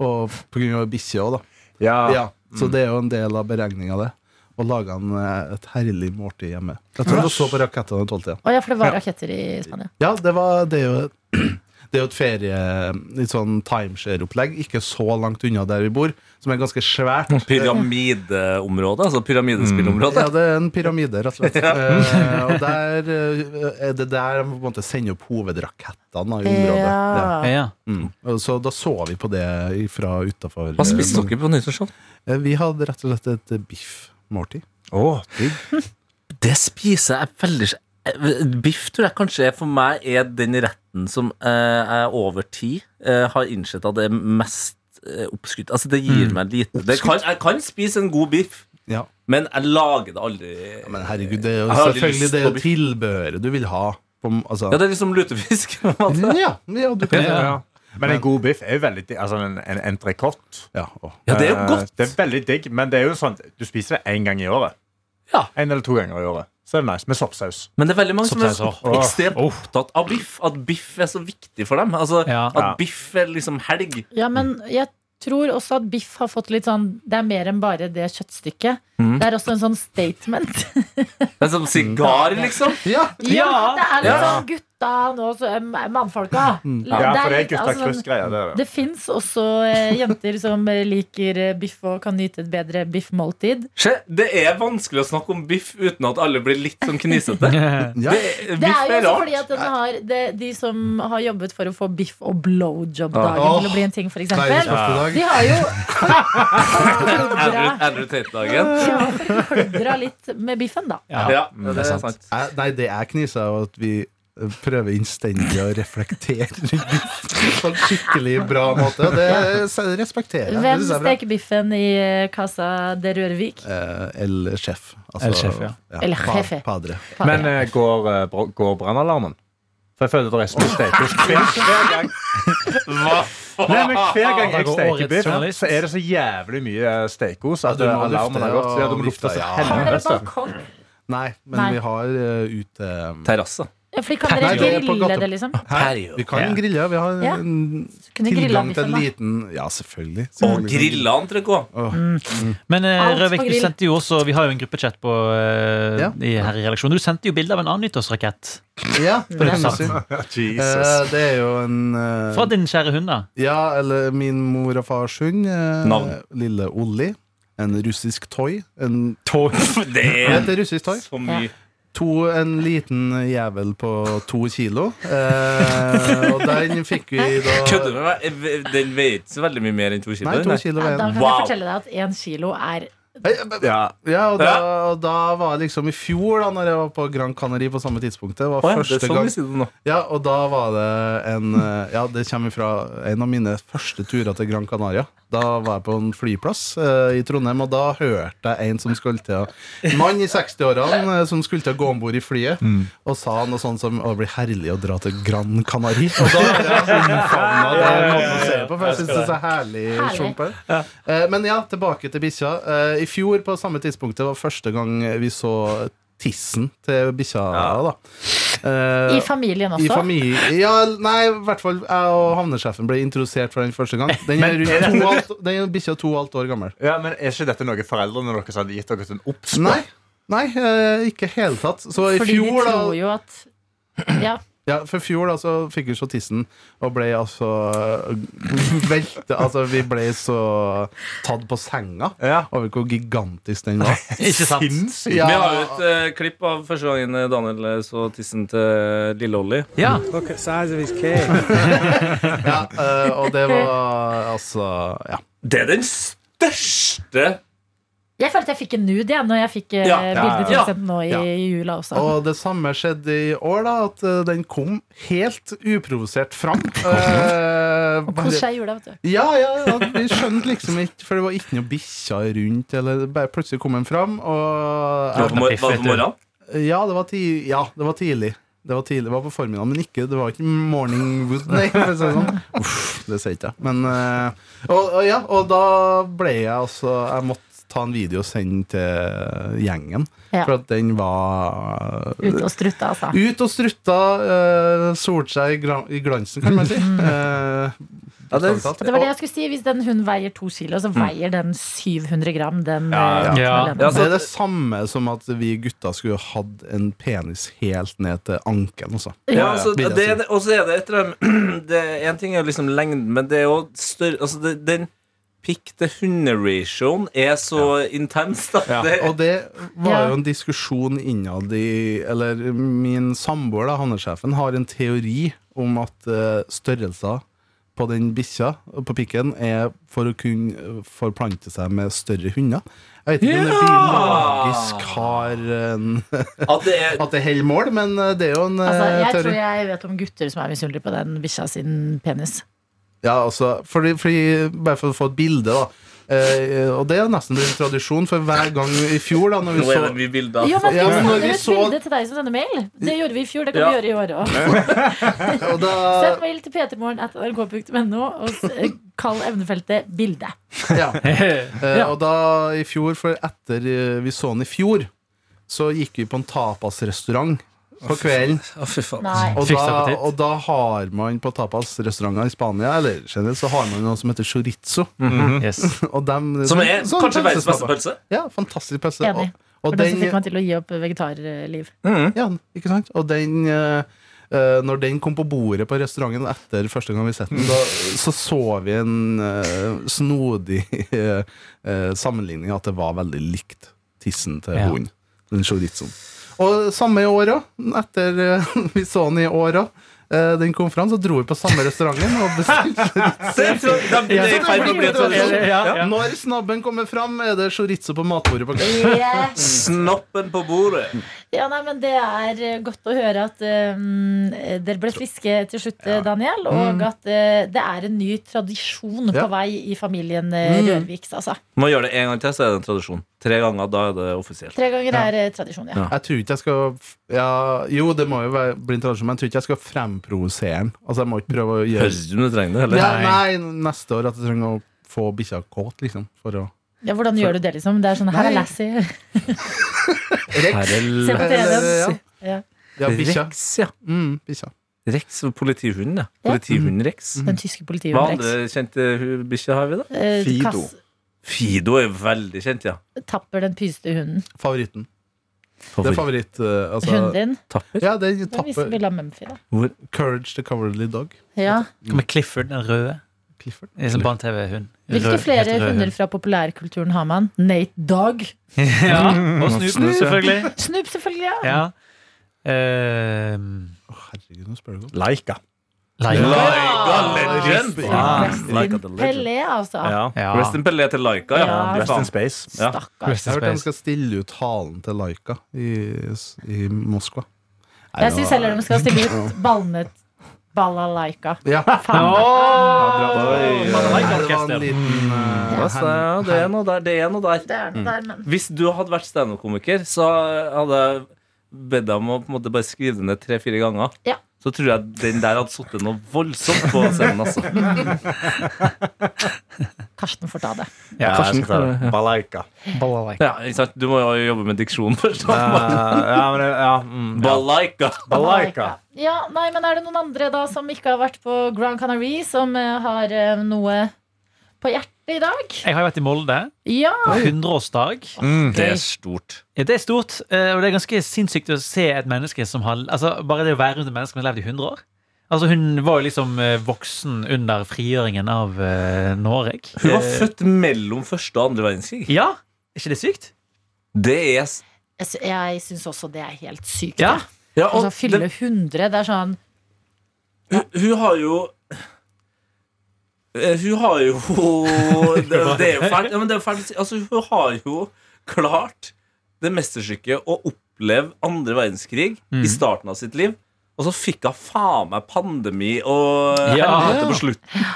S4: Og på grunn av bikkje òg, da.
S5: Ja.
S4: Mm. Ja, så det er jo en del av beregninga, det. og laga en, eh, et herlig måltid hjemme. Jeg tror jeg så på rakettene den tolvte.
S2: Å ja, for det var
S4: Ja.
S2: raketter i Spania.
S4: Ja, det, var, det, er jo, det er jo et ferie Litt sånn timeshare-opplegg Ikke så langt unna der vi bor Som er ganske svært
S3: Pyramideområdet, altså pyramidespillområdet.
S4: Mm. ja, det er en pyramide, rett og slett Eh, Og der eh, er det der de på en måte sender opp hovedrakettene i området ja.
S2: Ja.
S6: Ja.
S4: Og Så da så vi på det fra utenfor
S3: Hva spiste dere på nyttårsaften?
S4: Eh, Vi hadde rett og slett et eh, biff-måltid
S3: Det spiser jeg veldig sj- eh, Biff tror jeg kanskje er- for meg er den retten som eh, jeg over tid eh, har innsett at det er mest eh, oppskrytt. Altså, det
S6: Mm.
S3: gir meg lite det kan, Jeg kan spise en god biff,
S4: ja.
S3: men jeg lager det aldri.
S4: Men herregud, det er
S3: Jeg
S4: jo
S3: har aldri
S4: selvfølgelig
S3: lyst
S4: det
S3: på
S4: er jo
S3: biff.
S4: tilbehøret du vil ha på, altså.
S3: Ja, det er liksom lutefisk. på en
S6: Mm.
S3: måte.
S4: ja, ja, du kan
S6: Ja.
S5: Men en god biff er jo veldig digg. Altså en, en entrecôte.
S4: Ja, å.
S3: Ja, det er jo
S5: Eh,
S3: godt.
S5: Det er veldig digg, men det er jo sånn du spiser det én gang i året.
S3: Ja.
S5: En eller to ganger i året. Så er det nice med soppsaus.
S3: Men det er veldig mange som er
S6: Soppsaus,
S5: åh.
S3: ekstremt
S6: Åh.
S3: opptatt av biff. At biff er så viktig for dem. Altså,
S6: Ja.
S3: At biff er liksom helg.
S2: Ja, men jeg tror også at biff har fått litt sånn Det er mer enn bare det kjøttstykket. Det er også en sånn statement.
S3: Det er som sigar,
S2: Mm.
S3: liksom.
S4: ja.
S2: Ja, det er litt
S3: Ja.
S2: sånn gutta nå, så eh, mannfolka.
S5: Ja, for det er
S2: litt-
S5: gutta
S2: altså,
S5: kryss-greier. Det er det.
S2: Det fins også eh, jenter som eh, liker eh, biff og kan nyte et bedre biffmåltid.
S3: Se, det er vanskelig å snakke om biff uten at alle blir litt sånn knisete.
S4: Ja.
S3: Det,
S2: Det
S3: biff
S2: er jo
S3: er
S2: også fordi
S3: rart.
S2: at den har, det, De som har jobbet for å få biff og blowjob-dagen
S4: Åh.
S2: til å bli en ting, for
S4: Verdens
S2: eksempel
S4: beste dag
S2: De har jo
S3: Andrew,
S2: ordra-
S3: Andrew Tate-dagen.
S2: ordra litt med biffen, da.
S6: Ja.
S3: Ja, det er sant.
S4: Jeg, nei, det jeg kniser er jo at vi eh, prøver innstendig å reflektere rundt på en skikkelig bra måte. og Det s- respekterer jeg. Det
S2: Hvem
S4: synes jeg. er bra.
S2: steker biffen i eh, Casa de Rørvik?
S4: Eh, El Chef. altså-
S6: El Chef, ja.
S2: El
S4: pa-
S2: Jefe.
S4: Padre.
S5: Men eh, går, eh, br- går brannalarmen? For jeg føler det er som en stekos hver, hver gang. Nei, men hver gang
S6: Der
S5: jeg
S6: går
S5: steker
S6: årets
S5: biff,
S6: journalist.
S5: så er det så jævlig mye eh, stekos at
S4: Ja, du må
S5: eh, alarmen
S4: lufte
S5: har gått. Ja, du
S4: og
S5: må lufte
S4: vifte,
S5: så
S4: ja.
S2: Har dere
S5: helvete.
S2: balkong?
S4: Nei, men
S2: Nei.
S4: vi har eh, ute
S3: Terrasse.
S2: Ja, fordi kan dere
S4: Nei, det er på
S2: grille
S4: gata.
S2: det, liksom?
S3: Herregud.
S4: Vi kan grille. Vi har
S2: Ja.
S4: en
S2: Så kunne grilla
S4: tilgang til en
S2: biffen, da.
S4: liten Ja, selvfølgelig.
S3: Og
S4: Selvfølgelig.
S3: grilla entrecôte.
S6: Men eh,
S2: Alt på
S6: Røvik, du
S2: grill.
S6: sendte jo også Vi har jo en gruppechat på, eh,
S4: Ja.
S6: i, her i redaksjonen. Du sendte jo bilde av en annen nyttårsrakett.
S4: Ja, det er
S6: sant.
S4: sant.
S5: Jesus.
S4: Eh, Det er jo en eh,
S6: Fra din kjære hund, da.
S4: Ja, eller min mor og fars hund. eh,
S3: Navn?
S4: Lille Olli. En russisk toy. En,
S3: Det
S4: det
S3: er
S4: heter russisk toy.
S3: så mye.
S4: To, en liten jævel på to kilo. Eh, og den fikk vi da
S3: Kødder du med meg? Eh, Den veier ikke så veldig mye mer enn to kilo.
S4: Nei, to
S3: nei.
S4: kilo
S2: Ja,
S4: var
S2: da
S4: en.
S2: kan
S3: Wow.
S2: jeg fortelle deg at én kilo er
S5: Ja.
S4: Ja, og da, og da var det liksom i fjor, da når jeg var på Gran Canary på samme tidspunktet.
S3: Å
S4: Var
S3: ja, det
S4: første
S3: er sånn
S4: gang
S3: vi sier det nå.
S4: Ja, og da var det en eh, Ja, det kommer fra en av mine første turer til Gran Canaria. Da var jeg på en flyplass eh, i Trondheim, og da hørte jeg en som skulle til å en mann i 60-årene eh, som skulle til å gå om bord i flyet, og sa noe sånt som å, det blir herlig å dra til Gran Canaria. Og da er jeg omfavna det måten å se på, for jeg syns det er så herlig
S2: Herlig.
S4: sjump her. Eh, Men ja, tilbake til bikkja. Eh, I fjor på samme tidspunktet var første gang vi så tissen til bikkja. da. Eh,
S2: I familien
S4: i
S2: også.
S4: familie Ja, nei, i hvert fall jeg og havnesjefen ble introdusert for den første gang. Den er rundt to og halvt- den er bikkja to og et halvt år gammel.
S5: Eh, ja, men Er ikke dette noe foreldrene deres hadde gitt dere en obs på?
S4: Nei, nei eh, ikke i hele tatt. Så i
S2: Fordi de
S4: fjor,
S2: tror
S4: da,
S2: jo at Ja.
S4: ja, for i fjor da så fikk vi så tissen og ble altså velte Altså, vi ble så tatt på senga
S5: Ja.
S4: over hvor gigantisk den var.
S6: Ikke sant?
S5: Sinnssykt.
S3: Vi har jo et eh, klipp av første gangen eh, Daniel eh, så tissen til eh, Lille Olli.
S6: Ja.
S4: Ja, eh, og det var altså Ja.
S3: Det er den største
S2: Jeg følte jeg fikk en nude igjen når jeg fikk eh,
S3: Ja, ja,
S2: bildet
S3: ja.
S2: tilsendt nå i
S4: Ja.
S2: jula også.
S4: Og det samme skjedde i år, da. At eh, den kom helt uprovosert fram. Eh,
S2: Kos
S4: bare-
S2: seg i jula, vet du.
S4: Ja, ja, ja, vi skjønte liksom ikke For det var ikke noe bikkja rundt Eller bare plutselig kom den fram
S3: Var det
S4: og, eh,
S3: på mor- var det på morgenen?
S4: ja, det var ti, ja, det var tidlig Det var tidlig, det var på formiddagen Men ikke, det var ikke morning wood Nei, for å si det sånn Uff, det sier ikke jeg Men, eh, og, og ja, og da ble jeg altså Jeg måtte ta en video og sende til gjengen.
S2: Ja.
S4: For at den var
S2: Ute og strutte, altså.
S4: Ut og strutta, eh, solte seg i, gra- i glansen, kan man si. Eh, bokstavelig talt.
S2: Det var det jeg skulle si. Hvis den hunden veier to kilo,
S4: Mm.
S2: så veier den 700 gram. Den,
S3: Ja,
S2: eh,
S6: ja. Ja.
S2: alene.
S3: Ja,
S4: det er det samme som at vi gutta skulle hatt en penis helt ned til ankelen. altså.
S3: Ja, altså,
S4: Vil jeg
S3: det,
S4: si.
S3: er det- og så er det et eller annet det, En ting er jo liksom lengden, men det er jo større altså, det, Den pikk til hunde-ratioen er så intens, da. Det,
S4: Og det var
S2: Ja.
S4: jo en diskusjon innad i Eller min samboer, da, handelssjefen, har en teori om at eh, størrelser på den bikkja på pikken er for å kunne eh, forplante seg med større hunder. Jeg vet ikke om det biologisk har en,
S3: at det er
S4: At det holder mål, men eh, det er jo en eh,
S2: Altså, jeg
S4: teori.
S2: tror jeg vet om gutter som er misunnelige på den bikkja sin penis.
S4: Ja, altså, fordi, fordi, bare for å få et bilde, da. Eh, og det er nesten blitt en tradisjon, for hver gang i fjor, da når vi
S3: Nå er det
S4: så
S3: mye bilder.
S2: Jo, men
S4: Ja,
S2: vi
S4: men når
S2: sender
S4: vi
S2: et
S4: så-
S2: bilde til deg som sender mail. Det gjorde vi i fjor. Det kan
S3: Ja.
S2: vi gjøre i år òg.
S4: og da,
S2: Send mail til p3morgen.nrk.no og s- eh, kall emnefeltet 'bilde'.
S4: ja, eh,
S6: Ja.
S4: og da i fjor, for etter eh, vi så den i fjor, så gikk vi på en tapasrestaurant på kvelden.
S3: Å, fy faen.
S2: Nei.
S4: Og
S6: Fikk
S4: da,
S6: seg appetitt.
S4: og da har man på tapasrestauranter i Spania Eller generelt så har man noe som heter chorizo. Mhm.
S6: Yes.
S4: Og dem,
S3: Mm. Som er
S4: sånn
S3: kanskje verdens beste
S4: pølsestapper.
S3: pølse.
S4: Ja, fantastisk pølse.
S2: Enig. For
S4: Og, og
S2: den som
S4: den,
S2: fikk meg til å gi opp vegetarliv.
S4: Ja, ikke sant? Og den eh, eh, Når den kom på bordet på restauranten etter første gang vi sett den, da, så så vi en eh, snodig eh, eh, sammenligning at det var veldig likt tissen til
S6: Ja.
S4: hunden. Den chorizoen. Og samme i år òg. Etter eh, vi så den i år òg. eh, den kom fram, så dro vi på samme restauranten og bestilte
S3: Det er tro- det er i ferd med å bli en tradisjon.
S6: Ja, ja.
S4: Når snabben kommer fram, er det chorizo på matbordet på kvelden.
S3: Snoppen på bordet.
S2: Ja, nei, men Det er eh, godt å høre at eh, dere ble friske til slutt, eh, Daniel. Og at eh, det er en ny tradisjon
S4: Ja.
S2: på vei i familien eh, Rørviks. Altså.
S3: Må gjøre det en gang til, så er det en tradisjon. Tre ganger, da er det offisielt.
S2: Tre ganger er eh, tradisjon, ja.
S3: Ja.
S4: Jeg tror ikke jeg skal f- ja, Jo, det må jo være, bli en tradisjon, men jeg tror ikke jeg skal fremprovosere den. Altså, jeg må ikke prøve å gjøre
S3: Høres ut som du trenger det, eller?
S4: ja, Nei, neste år at jeg trenger å få bikkja kåt, liksom. For å
S2: ja. Hvordan gjør du det, liksom? Det er sånn, Her
S4: Nei.
S2: er Lassie.
S3: Her er
S2: Se på TV-en.
S4: ja.
S2: altså. Ja.
S4: Ja, bikkja.
S3: Rex, ja.
S4: Mm, bikkja.
S3: Rex og politihunden, ja.
S2: Ja.
S3: Politihunden Rex.
S2: Den tyske
S3: Hva
S2: politihunden
S3: andre
S2: Rex.
S3: kjente hu- bikkjer har vi, da?
S2: Eh,
S5: Fido.
S2: Kass
S3: Fido er veldig kjent, ja.
S2: tapper den pyste hunden.
S4: Favoritten. Det er favoritt... eh, altså,
S2: Hunden din.
S3: Tapper.
S4: Ja, den
S2: Den viser
S4: tapper
S2: bilde av Mumphy, da.
S3: Hvor?
S4: Courage the Cowardly Dog.
S2: Ja.
S6: Hva med Clifford, den røde?
S4: Clifford.
S6: En sånn barne-TV-hund.
S2: Hvilke
S6: Rød-
S2: flere
S6: helt rød
S2: hunder
S6: hund.
S2: fra populærkulturen har man? Nate Dog.
S6: Ja, og Snoop, selvfølgelig.
S2: Snoop, selvfølgelig. ja
S6: Ja. Ehm,
S4: Å, herregud, nå spør du godt.
S5: Leica.
S6: Laila.
S3: Laika Legend!
S6: Ja.
S2: Rest in
S3: Laika Ah, the Legend.
S2: Pelé, altså.
S5: Ja.
S6: Ja.
S3: Rest in Pelé til Laika, ja.
S2: Ja.
S3: Fy
S5: Rest in
S3: faen.
S5: Space.
S3: Ja.
S2: Stakkar.
S6: Rest
S4: Jeg
S6: in
S4: har hørt de
S6: space.
S4: skal stille ut halen til Laika i, i Moskva. Nei,
S2: Jeg
S4: det
S2: syns
S4: var-
S2: heller de skal stille ut ballene balalaika.
S4: Ja.
S3: Oi,
S4: Det
S3: ja.
S4: var en
S6: orkester.
S4: liten eh,
S3: Ja, så, ja, det er noe der. Det er noe der.
S2: Det er noe der, men
S3: Hvis du hadde vært standup-komiker, så hadde jeg bedt deg om å på en måte bare skrive det ned tre-fire ganger.
S2: Ja.
S3: Så tror jeg den der hadde sittet noe voldsomt på scenen. Altså.
S2: Karsten får ta det.
S5: Ja, jeg
S3: Karsten.
S5: skal ta det. Balalaika.
S3: Ja, ikke sant? Du må jo jobbe med diksjon først.
S5: Eh, ja, men det- ja, mm, ja.
S3: Balaika.
S5: Balalaika.
S2: Ja, nei, men Er det noen andre da som ikke har vært på Grand Canary, som eh, har eh, noe på hjertet i dag?
S6: Jeg har jo vært i Molde.
S2: Ja!
S6: på 100-årsdag.
S5: Mm.
S3: Det er stort.
S6: Ja, Det er stort, eh, og det er ganske sinnssykt å se et menneske som har altså Bare det å være rundt et menneske som har levd i 100 år. Altså Hun var jo liksom eh, voksen under frigjøringen av eh, Norge.
S3: Hun var
S6: Eh,
S3: født mellom første og andre verdenskrig.
S6: Ja, er ikke det sykt?
S3: Det er s-
S2: Jeg sy- Jeg syns også det er helt sykt.
S6: Ja.
S2: jeg.
S3: ja, og
S2: Altså, fylle
S3: den-
S2: 100, det er sånn
S3: hun, hun har jo Eh, Hun har jo Det, det er jo fælt. Ja, men det er jo fælt å si. Altså, hun har jo klart det mesterstykket å oppleve andre verdenskrig i starten av sitt liv. Og så fikk hun faen meg pandemi og
S6: Ja.
S3: helvete på slutten.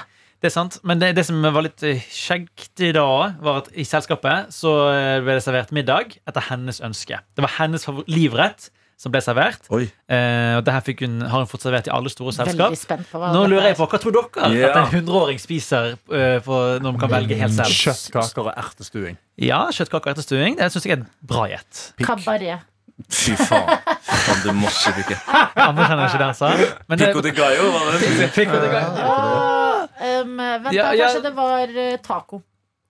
S6: Det er sant. Men det, det som var litt eh, skjeggt i dag, var at i selskapet så eh, ble det servert middag etter hennes ønske. Det var hennes favor- livrett som ble servert.
S5: Oi.
S6: Eh, og det her fikk hun, har hun fått servert i alle store selskap.
S2: Veldig spent på hva
S6: Nå
S2: dette
S6: lurer jeg
S2: er.
S6: på, Hva tror dere
S3: Ja.
S6: at en hundreåring spiser eh, for, når man kan velge helt selv?
S5: Kjøttkaker og ertestuing.
S6: Ja, Kjøttkaker etter stuing. Det syns jeg er en bra gjett.
S2: Kabaret.
S3: Fy faen. Fy faen, du må ikke pikke.
S6: Andre kjenner ikke den, sa Men det-
S3: Pico de Gallo var det. du skulle si.
S6: Pico de Gallo.
S2: Ah, um, vent,
S6: Ja,
S2: da.
S6: ja.
S2: Kanskje det var eh, taco.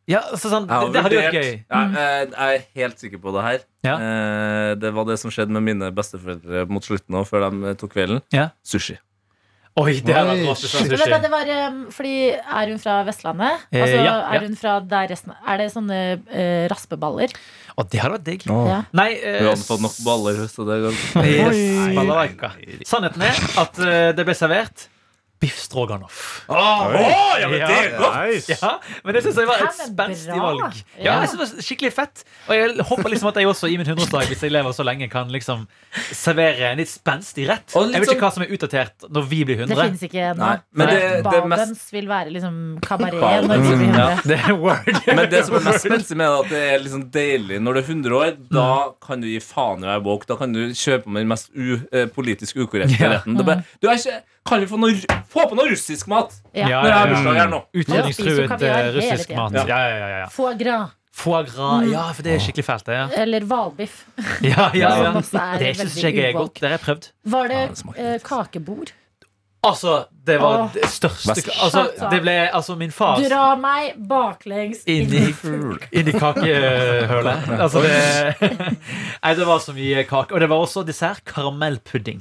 S6: Ja, så sånn,
S3: Jeg har
S6: det, det hadde jo vært gøy.
S3: vurdert- Ja, eh, jeg er helt sikker på det her.
S6: Ja.
S3: Eh, Det var det som skjedde med mine besteforeldre mot slutten òg, før de eh, tok kvelden.
S6: Ja.
S3: Sushi.
S6: Oi, det hadde vært
S4: Oi,
S6: masse
S4: shit.
S2: Men vent, da,
S6: sushi.
S2: det var, um, fordi Er hun fra Vestlandet?
S6: Eh,
S2: Altså,
S6: ja, ja.
S2: Er hun fra der resten Er det sånne eh, raspeballer?
S6: Og det hadde vært digg.
S2: Ja.
S6: Nei,
S3: Vi
S6: eh,
S3: hadde fått nok baller. Så det går.
S6: Yes, balalaika. Sannheten er at eh, det ble servert biff stroganoff. ja, men det er
S5: godt!
S6: Ja, men det syns jeg var
S2: Ja,
S6: et
S2: men
S6: spenstig
S2: bra.
S6: valg.
S2: Ja.
S6: Ja, jeg synes det var Skikkelig fett. Og jeg håper liksom at jeg også i min hundreårsdag, hvis jeg lever så lenge, kan liksom servere en litt spenstig rett.
S3: Og litt
S6: Jeg vet
S3: sånn-
S6: ikke hva som er utdatert når vi blir
S2: Det
S6: 100.
S2: finnes ikke ennå.
S3: Nei, men det- det
S2: Babens
S3: mest-
S2: vil være liksom kabaret
S3: Babens,
S2: når vi blir
S6: Mm, Ja,
S2: hundre.
S6: det er word.
S3: Men det som er mest spenstig med det, er at det er liksom deilig når du er 100 år. Da
S6: Mm.
S3: kan du gi faen i å være woke. Da kan du kjøpe med den mest u, eh, politisk ukorrekte
S6: Ja.
S3: retten.
S6: Mm.
S3: Det er bare, du er ikke, kan vi få noe, ru- få på noe russisk mat
S2: Ja.
S6: Ja,
S3: når jeg har
S6: ja,
S3: bursdag her nå?
S2: spiser jo
S6: Utrydningstruet
S2: kaviar
S6: eh,
S2: hele
S6: russisk
S2: tiden. Mm.
S6: mat.
S3: Ja.
S6: Ja, ja, ja, ja.
S2: Foie gras
S6: Foie gras. Ja, for det er skikkelig fælt, det. ja
S2: eller hvalbiff.
S6: Ja, ja,
S2: Ja,
S6: ja.
S2: som også er
S6: Det syns
S2: veldig
S6: jeg er
S2: uwoke.
S6: godt. Det har jeg prøvd.
S2: Var det
S3: Ja, det smaker
S2: eh,
S3: litt.
S2: kakebord?
S6: Altså, det var
S2: Åh.
S6: det største
S3: Vest-
S6: Altså, det ble altså min far
S2: Dra meg baklengs inn
S6: Inni, inni kakehølet. Altså det Nei, det var så mye kake. Og det var også dessert karamellpudding.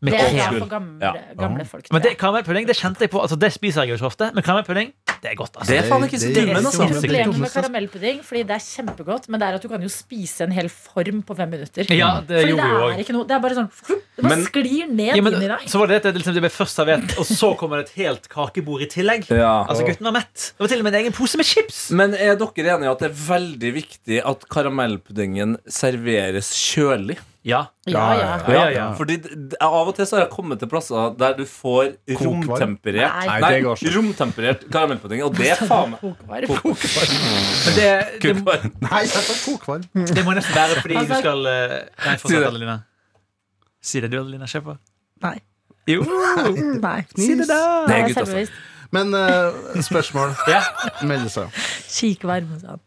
S6: Med
S2: Det er
S6: krem.
S2: for gamle,
S3: Ja.
S2: gamle folk.
S6: Men
S2: tror
S6: det
S2: jeg.
S6: karamellpudding det kjente jeg på. Altså, det spiser jeg jo ikke ofte, men karamellpudding, det er godt. altså
S3: Det er faen ikke så
S4: Det- det-
S3: dummen, altså.
S6: det er
S2: Problemet med
S4: dummeste.
S2: karamellpudding Fordi det er kjempegodt, men det er at du kan jo spise en hel form på fem minutter. Mm.
S6: Ja, det
S2: Fordi
S6: gjorde vi
S2: det
S6: jo
S2: er
S6: òg.
S2: ikke noe Det er bare sånn Det bare
S3: Men-
S2: sklir ned
S6: Ja, men,
S2: inn i deg.
S6: så var det det, at det liksom, det ble først servert, og så kommer det et helt kakebord i tillegg.
S3: Ja.
S6: Altså, gutten var mett. Det var til og med en egen pose med chips.
S3: Men er dere enige i at det er veldig viktig at karamellpuddingen serveres kjølig?
S6: Ja.
S2: Ja, ja.
S6: Ja, ja, ja.
S3: Fordi d- d- av og til så har jeg kommet til plasser der du får
S4: Kokvarm.
S3: romtemperert
S2: Nei.
S5: Nei, det går ikke.
S3: romtemperert karamellpudding, og det er faen meg
S2: Kokvarm.
S6: Men det, det,
S3: kokvarm.
S4: Nei, jeg tar kokvarm.
S6: Det må nesten være fordi
S2: Altså-
S6: du skal eh, Nei,
S3: Si det.
S6: fortsett, Adelina. Si det du, Adelina. Kjør på.
S2: Nei.
S6: Jo,
S2: Nei.
S6: si det, da.
S3: Det
S2: Nei,
S3: er gutt, altså.
S2: selvbevisst.
S4: Men eh, spørsmål
S6: Ja.
S4: melder seg.
S2: Kikvarm, altså.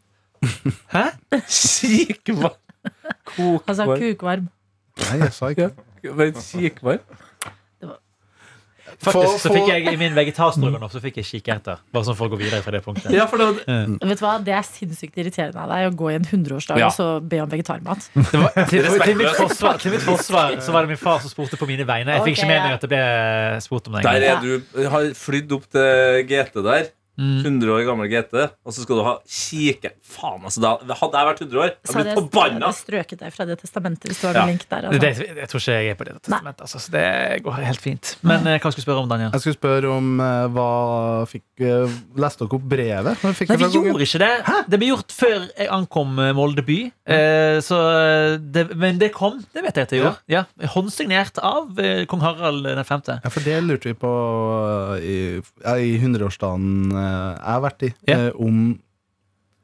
S2: sa han.
S6: Hæ?
S3: Kikvarm.
S2: Han sa Altså, kukvarm.
S4: Nei, jeg sa ikke
S3: Men kikvarm?
S6: Faktisk så
S4: Få-
S6: fikk jeg i min vegetarstroganoff så fikk jeg kikerter. Bare sånn for å gå videre fra det punktet.
S3: Ja, for det var
S2: Vet du hva, Det er sinnssykt irriterende av deg å gå i en hundreårsdag
S3: Ja.
S2: og så be om vegetarmat.
S6: Det var, til, til, mitt forsvar, til mitt forsvar så var det min far som spurte på mine vegne. Jeg fikk ikke med meg at det ble spurt om det.
S3: Der
S6: engang.
S3: er du har flydd opp til GT der.
S2: Mm.
S3: 100 år gammel GT, og så skal du ha kiker... Faen, altså. Da, hadde jeg vært 100 år, jeg
S2: Så hadde
S3: hadde blitt
S2: jeg, jeg
S3: forbanna.
S2: hadde strøket deg fra det testamentet hvis du har en
S3: Ja.
S2: link der.
S6: Det,
S2: Altså.
S6: jeg tror ikke jeg er på det testamentet. Altså, så det går helt fint. Men eh, hva skal du spørre om, Daniel?
S4: Jeg skulle spørre om eh, hva fikk eh, Leste dere opp brevet? Hva fikk
S6: Nei,
S4: dere
S6: vi
S4: fra kongen?
S6: gjorde ikke det. Det ble gjort før jeg ankom eh, Molde by. Eh, så eh, det, men det kom, det vet jeg at det gjorde. Ja. Håndsignert av eh, kong Harald den femte.
S4: Ja, for det lurte vi på eh, i, ja, i 100-årsdagen eh, jeg har vært i,
S6: Ja.
S4: eh, om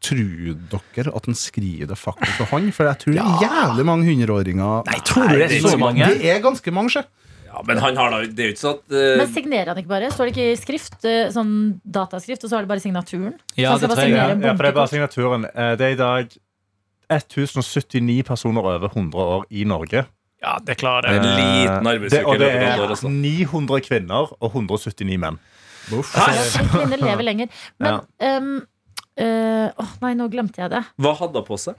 S4: Tror dere at han skriver det faktisk for hånd? For jeg tror det er jævlig mange hundreåringer
S6: Nei, tror du det er så mange?
S4: Det er ganske mange, sjø.
S3: Ja, men han har da Det er jo ikke sånn at
S2: Men
S3: eh,
S2: signerer han ikke bare? Står det ikke i skrift? eh, Sånn dataskrift, og så er det bare signaturen?
S6: Ja,
S2: Han skal
S6: det
S2: bare
S6: tror jeg,
S5: Ja,
S2: signere en
S5: ja, for det er bare
S2: bunke.
S5: signaturen. Eh, Det er i dag 1079 personer over 100 år i Norge. Eh,
S6: Ja, det klarer
S3: En
S6: jeg.
S3: liten
S5: Det,
S3: arbeidsuke.
S5: og
S3: i
S5: det
S3: løpet av et år,
S5: er
S3: altså.
S5: 900 kvinner og 179 menn.
S2: Ja, fordi Kvinner lever lenger. Men
S5: Ja.
S2: ehm, eh, Åh, nei, nå glemte jeg det.
S3: Hva hadde hun på seg?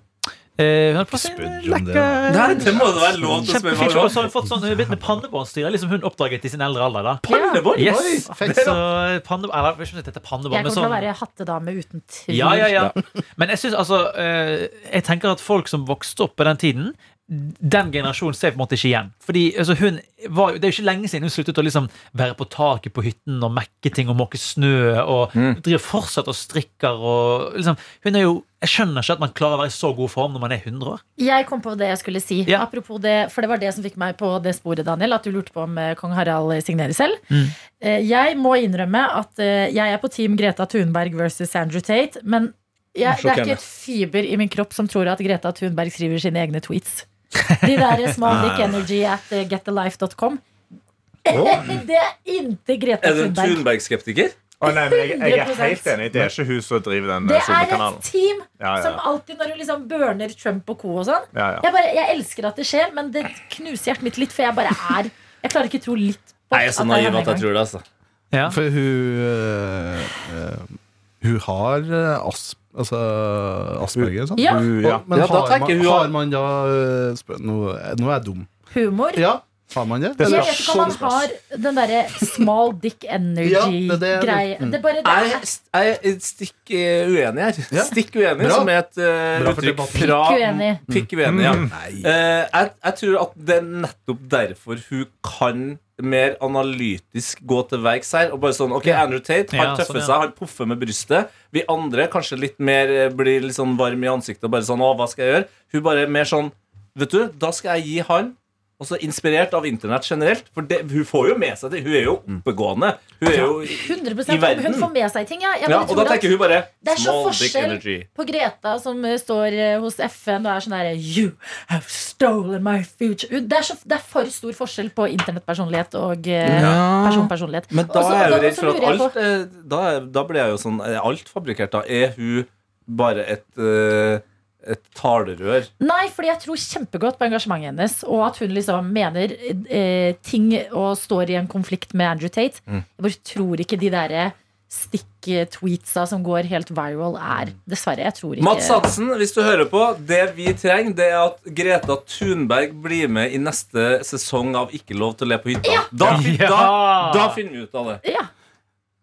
S6: Eh, hun har plass
S4: Spør om
S6: en
S4: det.
S6: lekker
S3: Nei, det må det være lov til å spørre
S6: Kjempefint.
S3: hva
S6: Og
S3: det
S6: så har hun fått sånn, hun har blitt med pannebåndstyre, liksom hun oppdaget i sin eldre alder. da
S3: var.
S6: Yes.
S3: Oi.
S6: Så eh, pannebånd Eller jeg vet ikke om det heter pannebånd.
S2: Jeg
S6: men
S2: kommer til å
S6: sånn-
S2: være hattedame uten tvil.
S6: Ja, ja, ja. Men jeg synes, altså eh, Jeg tenker at folk som vokste opp på den tiden den generasjonen ser jeg på en måte ikke igjen. Fordi altså, hun var, jo- Det er jo ikke lenge siden hun sluttet å liksom være på taket på hytten og mekke ting og måke snø. Og driver fortsatt og strikker og liksom, hun er jo, Jeg skjønner ikke at man klarer å være i så god form når man er 100 år.
S2: Jeg kom på det jeg skulle si.
S6: Ja.
S2: Apropos det, for det var det som fikk meg på det sporet, Daniel. At du lurte på om eh, kong Harald signerer selv.
S6: Mm.
S2: Eh, Jeg må innrømme at eh, jeg er på team Greta Thunberg versus Andrew Tate. Men jeg, det er
S3: Sjokkerende.
S2: ikke et fiber i min kropp som tror at Greta Thunberg skriver sine egne tweets. De der Small Dick Energy at eh, getthelife.com. Det er inntil Grete
S3: Er du en
S2: Thunberg.
S3: Thunberg-skeptiker?
S5: Å, nei, men jeg, jeg er
S2: 100%
S5: helt enig. Det er ikke hun som driver den
S2: Det
S5: eh,
S2: er et
S5: solkanalen.
S2: team
S5: Ja, ja.
S2: som alltid, når du liksom burner Trump og co. og sånn
S5: Ja, ja.
S2: jeg, bare, jeg elsker at det skjer, men det knuser hjertet mitt litt, for jeg bare er Jeg klarer ikke tro litt på
S3: Nei, jeg er så
S2: at det er
S3: naiv
S2: henne
S3: at jeg
S2: engang.
S3: tror det. altså
S6: Ja.
S4: For hun eh, eh, Hun har eh, asp, altså, asperger, sant?
S2: Ja.
S5: Hun- ja.
S4: Og- Men
S3: Ja, da
S4: har, man,
S3: tenker hun-
S4: har man da eh, spør, nå, nå er jeg dum.
S2: Humor.
S4: Ja, har man det?
S2: Jeg
S4: Eller? sånn
S2: vet ikke om han har den derre small dick
S4: Ja, det- det er-
S2: energy-greie.
S4: mm.
S2: Det er bare det
S3: Jeg
S2: er
S3: jeg er et stikk eh, uenig her.
S4: Ja.
S3: Stikk uenig,
S4: Bra.
S3: som er et eh,
S4: Bra for
S3: uttrykk
S4: debatten. Mm.
S3: fra
S2: Pikk uenig.
S3: Pikk uenig, ja.
S4: Nei.
S3: Eh, jeg, jeg tror at det er nettopp derfor hun kan mer analytisk gå til verks her. Og bare sånn, ok, Andrew Tate, han
S6: Ja, sånn,
S3: tøffer
S6: ja.
S3: seg, han poffer med brystet. Vi andre kanskje litt mer eh, blir litt sånn varm i ansiktet og bare sånn Å, hva skal jeg gjøre? Hun bare er mer sånn Vet du, da skal jeg gi han også inspirert av internett generelt. For det, hun får jo med seg det. Hun er jo
S4: Mm.
S3: oppegående. Hun er jo i,
S2: 100
S3: i verden.
S2: Hun får med seg ting, ja. Jeg
S3: ja,
S2: bare
S3: Og
S2: tror
S3: da
S2: at-
S3: tenker hun bare
S2: Det er så
S3: Small dick
S2: forskjell
S3: energy.
S2: på Greta som eh, står eh, hos FN og er sånn derre You have stolen my future Hun- det er, så, det er for stor forskjell på internettpersonlighet og eh, personpersonlighet.
S3: Men da
S2: Også-
S3: er jeg jo
S2: og
S3: redd
S2: så
S3: for at
S2: lurer jeg på-
S3: alt eh, Da, er- da blir jeg jo sånn Er alt fabrikkert da? Er hun bare et eh, et talerør?
S2: Nei, fordi jeg tror kjempegodt på engasjementet hennes. Og at hun liksom mener eh, ting og står i en konflikt med Andrew Tate. Jeg bare tror ikke de derre stikk-tweetsa som går helt viral, er Dessverre. Jeg tror ikke
S3: Mats Hansen, hvis du hører på, det vi trenger, det er at Greta Thunberg blir med i neste sesong av Ikke lov til å le på hytta. Da, fin- da,
S6: Ja.
S3: da finner vi ut av det.
S2: Ja.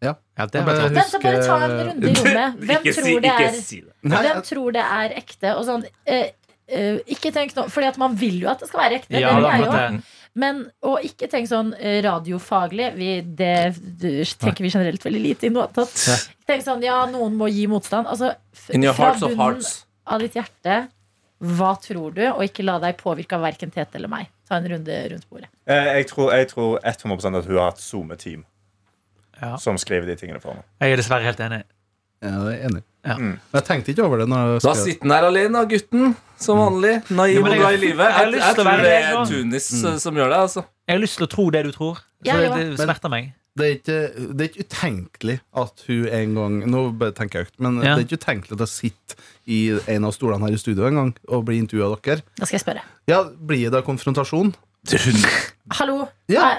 S6: Ja, det
S4: Jeg
S6: har vært
S4: bare
S6: rart.
S2: Vent, så bare ta en
S4: husker-
S2: runde i rommet. Hvem
S3: Ikke si,
S2: tror det
S3: ikke
S2: er
S3: si det.
S4: Nei,
S2: Hvem tror det er ekte? Og sånn, eh, eh, ikke tenk nå, fordi at man vil jo at det skal være ekte.
S6: Ja,
S2: det
S6: da,
S2: vil jeg jo.
S6: men det-
S2: Men og ikke tenk sånn eh, radiofaglig. Vi, det du, tenker vi generelt veldig lite i noe annet. Tenk sånn, ja, noen må gi motstand. Altså, f-
S3: In your
S2: fra
S3: hearts of
S2: bunnen
S3: hearts.
S2: av ditt hjerte, hva tror du? Og ikke la deg påvirke av verken Tete eller meg. Ta en runde rundt bordet.
S5: Eh, Jeg tror, jeg tror 100 at hun har et SoMe-team
S6: Ja.
S5: som skriver de tingene for henne.
S6: Jeg er dessverre helt enig.
S4: Ja, jeg er enig. Mm.
S6: Ja.
S4: Men jeg tenkte ikke over det. Når jeg
S3: Da
S4: skrev-
S3: sitter han her alene, da, gutten. Som vanlig. Naiv
S6: Ja,
S3: og
S6: men jeg-
S3: glad i livet.
S6: jeg har
S3: Jeg,
S6: lyst
S3: jeg
S6: til å være
S3: tror det
S6: det
S3: er
S6: en gang.
S3: Tunis eh, som gjør det. altså
S6: Jeg har lyst til å tro det du tror. Så
S2: Ja,
S6: det,
S2: ja.
S6: det smerter meg.
S4: det, er ikke, det er ikke utenkelig at hun en gang Nå bare tenker jeg høyt, men
S6: Ja.
S4: det er ikke utenkelig at jeg sitter i en av stolene her i studio en gang og blir intervjua av dere.
S2: Da skal jeg spørre.
S4: Ja, blir det konfrontasjon?
S2: Hallo, Ah,
S4: Ja.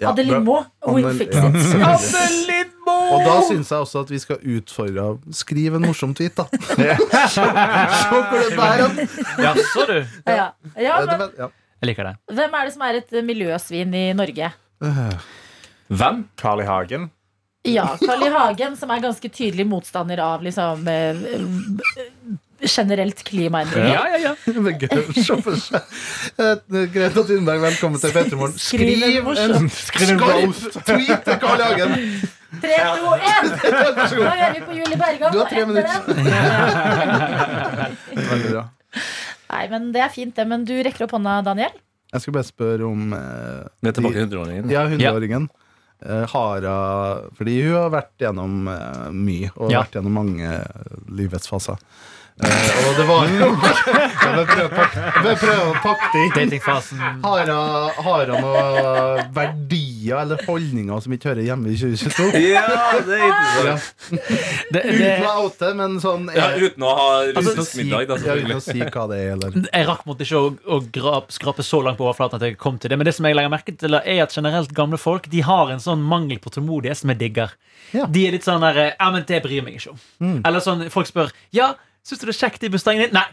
S4: Ja,
S2: Adeline
S4: bra.
S2: Moe, we'll
S4: Annel-
S2: fix
S4: ja.
S2: it.
S4: Og da syns jeg også at vi skal utfordre Skriv en morsom tweet, da. Se hvor det bærer an.
S6: Ja, så du.
S2: Ja. ja,
S4: Ja,
S2: men
S4: det- ja.
S6: Jeg liker det.
S2: hvem er det som er et eh, miljøsvin i Norge?
S3: Hvem?
S5: Carl I. Hagen.
S2: Ja, Carl I. Hagen, som er ganske tydelig motstander av liksom eh, generelt klimaendringer.
S6: Ja, ja, ja.
S4: Det er gøy å se for seg. Eh, Greta Thunberg, velkommen til Petremorgen.
S2: Skriv en
S4: Skriv en
S2: morsom-
S4: skarp tweet til Carl I. Hagen!
S2: Tre, to, én!
S4: Vær så
S2: Hva
S4: god.
S2: gjør vi på Julie Bergan?
S4: Du har tre
S2: Etter
S4: minutter.
S2: den?
S4: Veldig bra.
S2: Nei, men Det er fint, det. Men du rekker opp hånda, Daniel.
S4: Jeg skal bare spørre om eh,
S3: Vi er tilbake
S4: de-
S3: til hundreåringen.
S4: Mm. Ja, hundreåringen. Eh, Hara Fordi hun har vært gjennom eh, mye, og
S6: Ja.
S4: vært gjennom mange eh, livets faser. Eh, og det var jo Jeg vil prøve å pakke- jeg vil prøve å pakke det inn.
S6: Datingfasen.
S4: Har hun- har hun noen verdier eller holdninger som ikke hører hjemme i 2022?
S3: Ja, det er
S4: Ja.
S3: interessant.
S6: Det,
S4: Uten
S6: det,
S4: å oute, men sånn
S3: Ja,
S4: eh,
S3: uten å ha
S4: uten
S6: Altså,
S4: å
S3: russisk
S4: si-
S3: middag, da,
S4: ja, uten
S3: selvfølgelig.
S4: å si hva det er, eller
S6: jeg rakk måtte ikke å, å grap, skrape så langt på overflaten at jeg kom til det. Men det som jeg legger merke til, er at generelt gamle folk De har en sånn mangel på tålmodighet som jeg digger.
S4: Ja.
S6: De er litt sånn der Ja, men det bryr jeg meg ikke om. Eller sånn folk spør Ja, syns du det er kjekt i Mustangen din? Nei.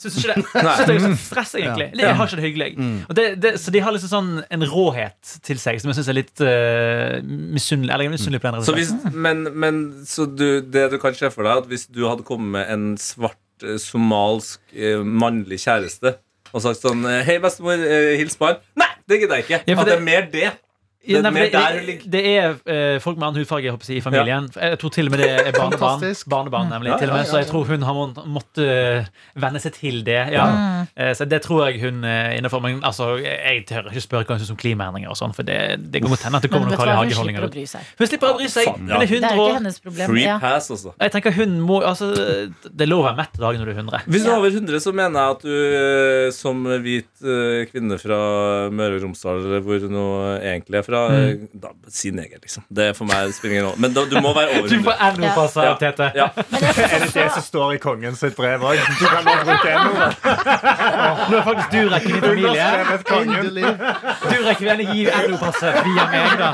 S6: Syns du ikke det? Synes det er sånn stress, egentlig. Jeg har ikke det hyggelig. jeg. Og det, det, så de har liksom sånn en råhet til seg som jeg syns er litt eh, misunnelig. Eller jeg er misunnelig på den rett
S3: Så
S6: og slett.
S3: hvis, men men så du, det du kan se for deg, at hvis du hadde kommet med en svart eh, somalsk eh, mannlig kjæreste og sagt sånn eh, Hei, bestemor, eh, hils på han. Nei, det gidder jeg ikke.
S6: Ja, for
S3: at det
S6: det-
S3: er mer det. Det er
S6: Nei, for
S3: mer
S6: det,
S3: der hun
S6: det,
S3: ligger.
S6: det er eh, folk med annen hudfarge jeg håper å si, i familien. Jeg tror til og med det er barnebarn.
S4: Fantastisk.
S6: barnebarn nemlig,
S5: Ja,
S6: til og
S5: ja,
S6: med,
S5: ja,
S6: Så
S5: ja.
S6: jeg tror hun har må- måtte eh, venne seg til det. Ja. Eh, Så det tror jeg hun eh, innenfor. Men altså, jeg jeg tør ikke spørre hva hun syns om klimaendringer og sånn, for det, det kommer til å hende at det
S2: Men
S6: kommer
S2: vet
S6: noen
S2: du
S6: Kari
S2: hva, hun slipper
S6: Hage-holdninger
S2: å
S6: ut.
S2: bry seg.
S6: Hun slipper å bry seg.
S3: Faen,
S6: Hun
S3: ja.
S6: er
S2: Det er
S6: 100
S2: ikke
S6: år.
S2: hennes problem.
S3: Free
S2: Ja.
S3: pass, altså.
S6: Jeg tenker hun må, altså, Det er lov å være mett dagen når du er 100.
S3: Hvis du er over 100, så mener jeg at du eh, som hvit eh, kvinne fra Møre og Romsdal, eller hvor du nå egentlig er fra, eh, da, si neger, liksom. Det er for meg spiller ingen rolle. Men da, du må være over
S6: Du
S3: 100.
S6: får NO-passe,
S3: Ja.
S6: Tete.
S3: Ja.
S5: Er det det som står i kongen sitt brev òg? Du kan bare bruke en ord.
S6: Nå er faktisk du rekker min familie.
S5: Underskrevet kongen.
S4: Endelig!
S6: Du rekker gjerne gi NO-passet via meg, da.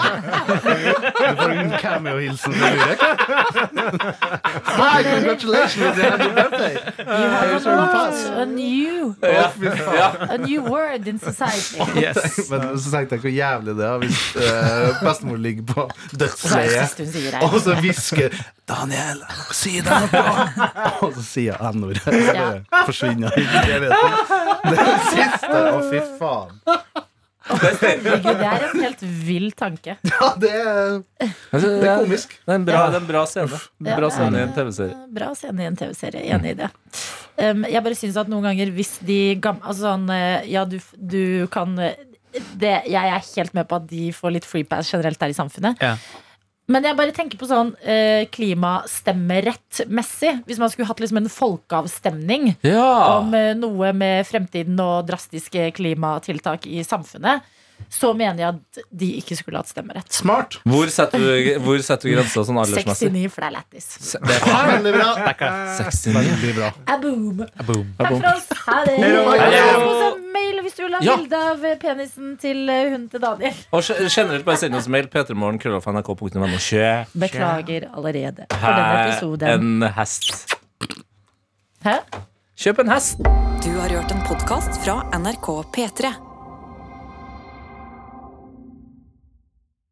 S4: Du får en cameo-hilsen fra Durek. Hi, congratulations! You had your birthday!
S2: You have
S4: Free
S2: a
S4: pass.
S2: word, a new,
S3: Ja. Ja.
S2: a new word in society.
S6: Yes.
S4: Men så tenkte jeg hvor jævlig det er hvis eh, bestemor ligger på
S2: Så er det
S4: dødsleiet.
S2: siste hun sier
S4: Og
S2: her.
S4: så hvisker 'Daniel, si det noe!' Og så sier jeg N-ordet. Så bare Forsvinner i evigheten. Det er det siste. Å, fy faen.
S2: Herregud, Det er en helt vill tanke.
S4: Ja, det er, det er komisk.
S3: Altså, Det er en bra, det er en bra scene. En bra scene i en TV-serie.
S2: Bra scene i en TV-serie. Enig i det. Um, jeg bare syns at noen ganger hvis de gamle Altså sånn eh, Ja, du, f- du kan eh, det, Jeg er helt med på at de får litt free pass generelt der i samfunnet.
S6: Ja.
S2: Men jeg bare tenker på sånn eh, klimastemmerettmessig. Hvis man skulle hatt liksom en folkeavstemning
S3: Ah.
S2: om eh, noe med fremtiden og drastiske klimatiltak i samfunnet, så mener jeg at de ikke skulle hatt stemmerett.
S4: Smart.
S3: Hvor setter du, hvor setter du grensa sånn aldersmessig?
S2: 69, for det er lættis.
S4: Veldig bra.
S3: 69.
S4: Veldig bra.
S2: A boom!
S6: Boom.
S2: Takk for oss. Ha det. Send oss en mail hvis du vil ha
S3: Ja.
S2: bilde av penisen til eh, hunden til Daniel.
S3: Og ge- generelt bare send oss mail. p3morgen.krøllalfa.nrk.no. Kjøp
S2: Beklager allerede for denne
S3: her
S2: episoden.
S3: en hest.
S2: Hæ?
S3: Kjøp en hest!
S1: Du har hørt en podkast fra NRK P3.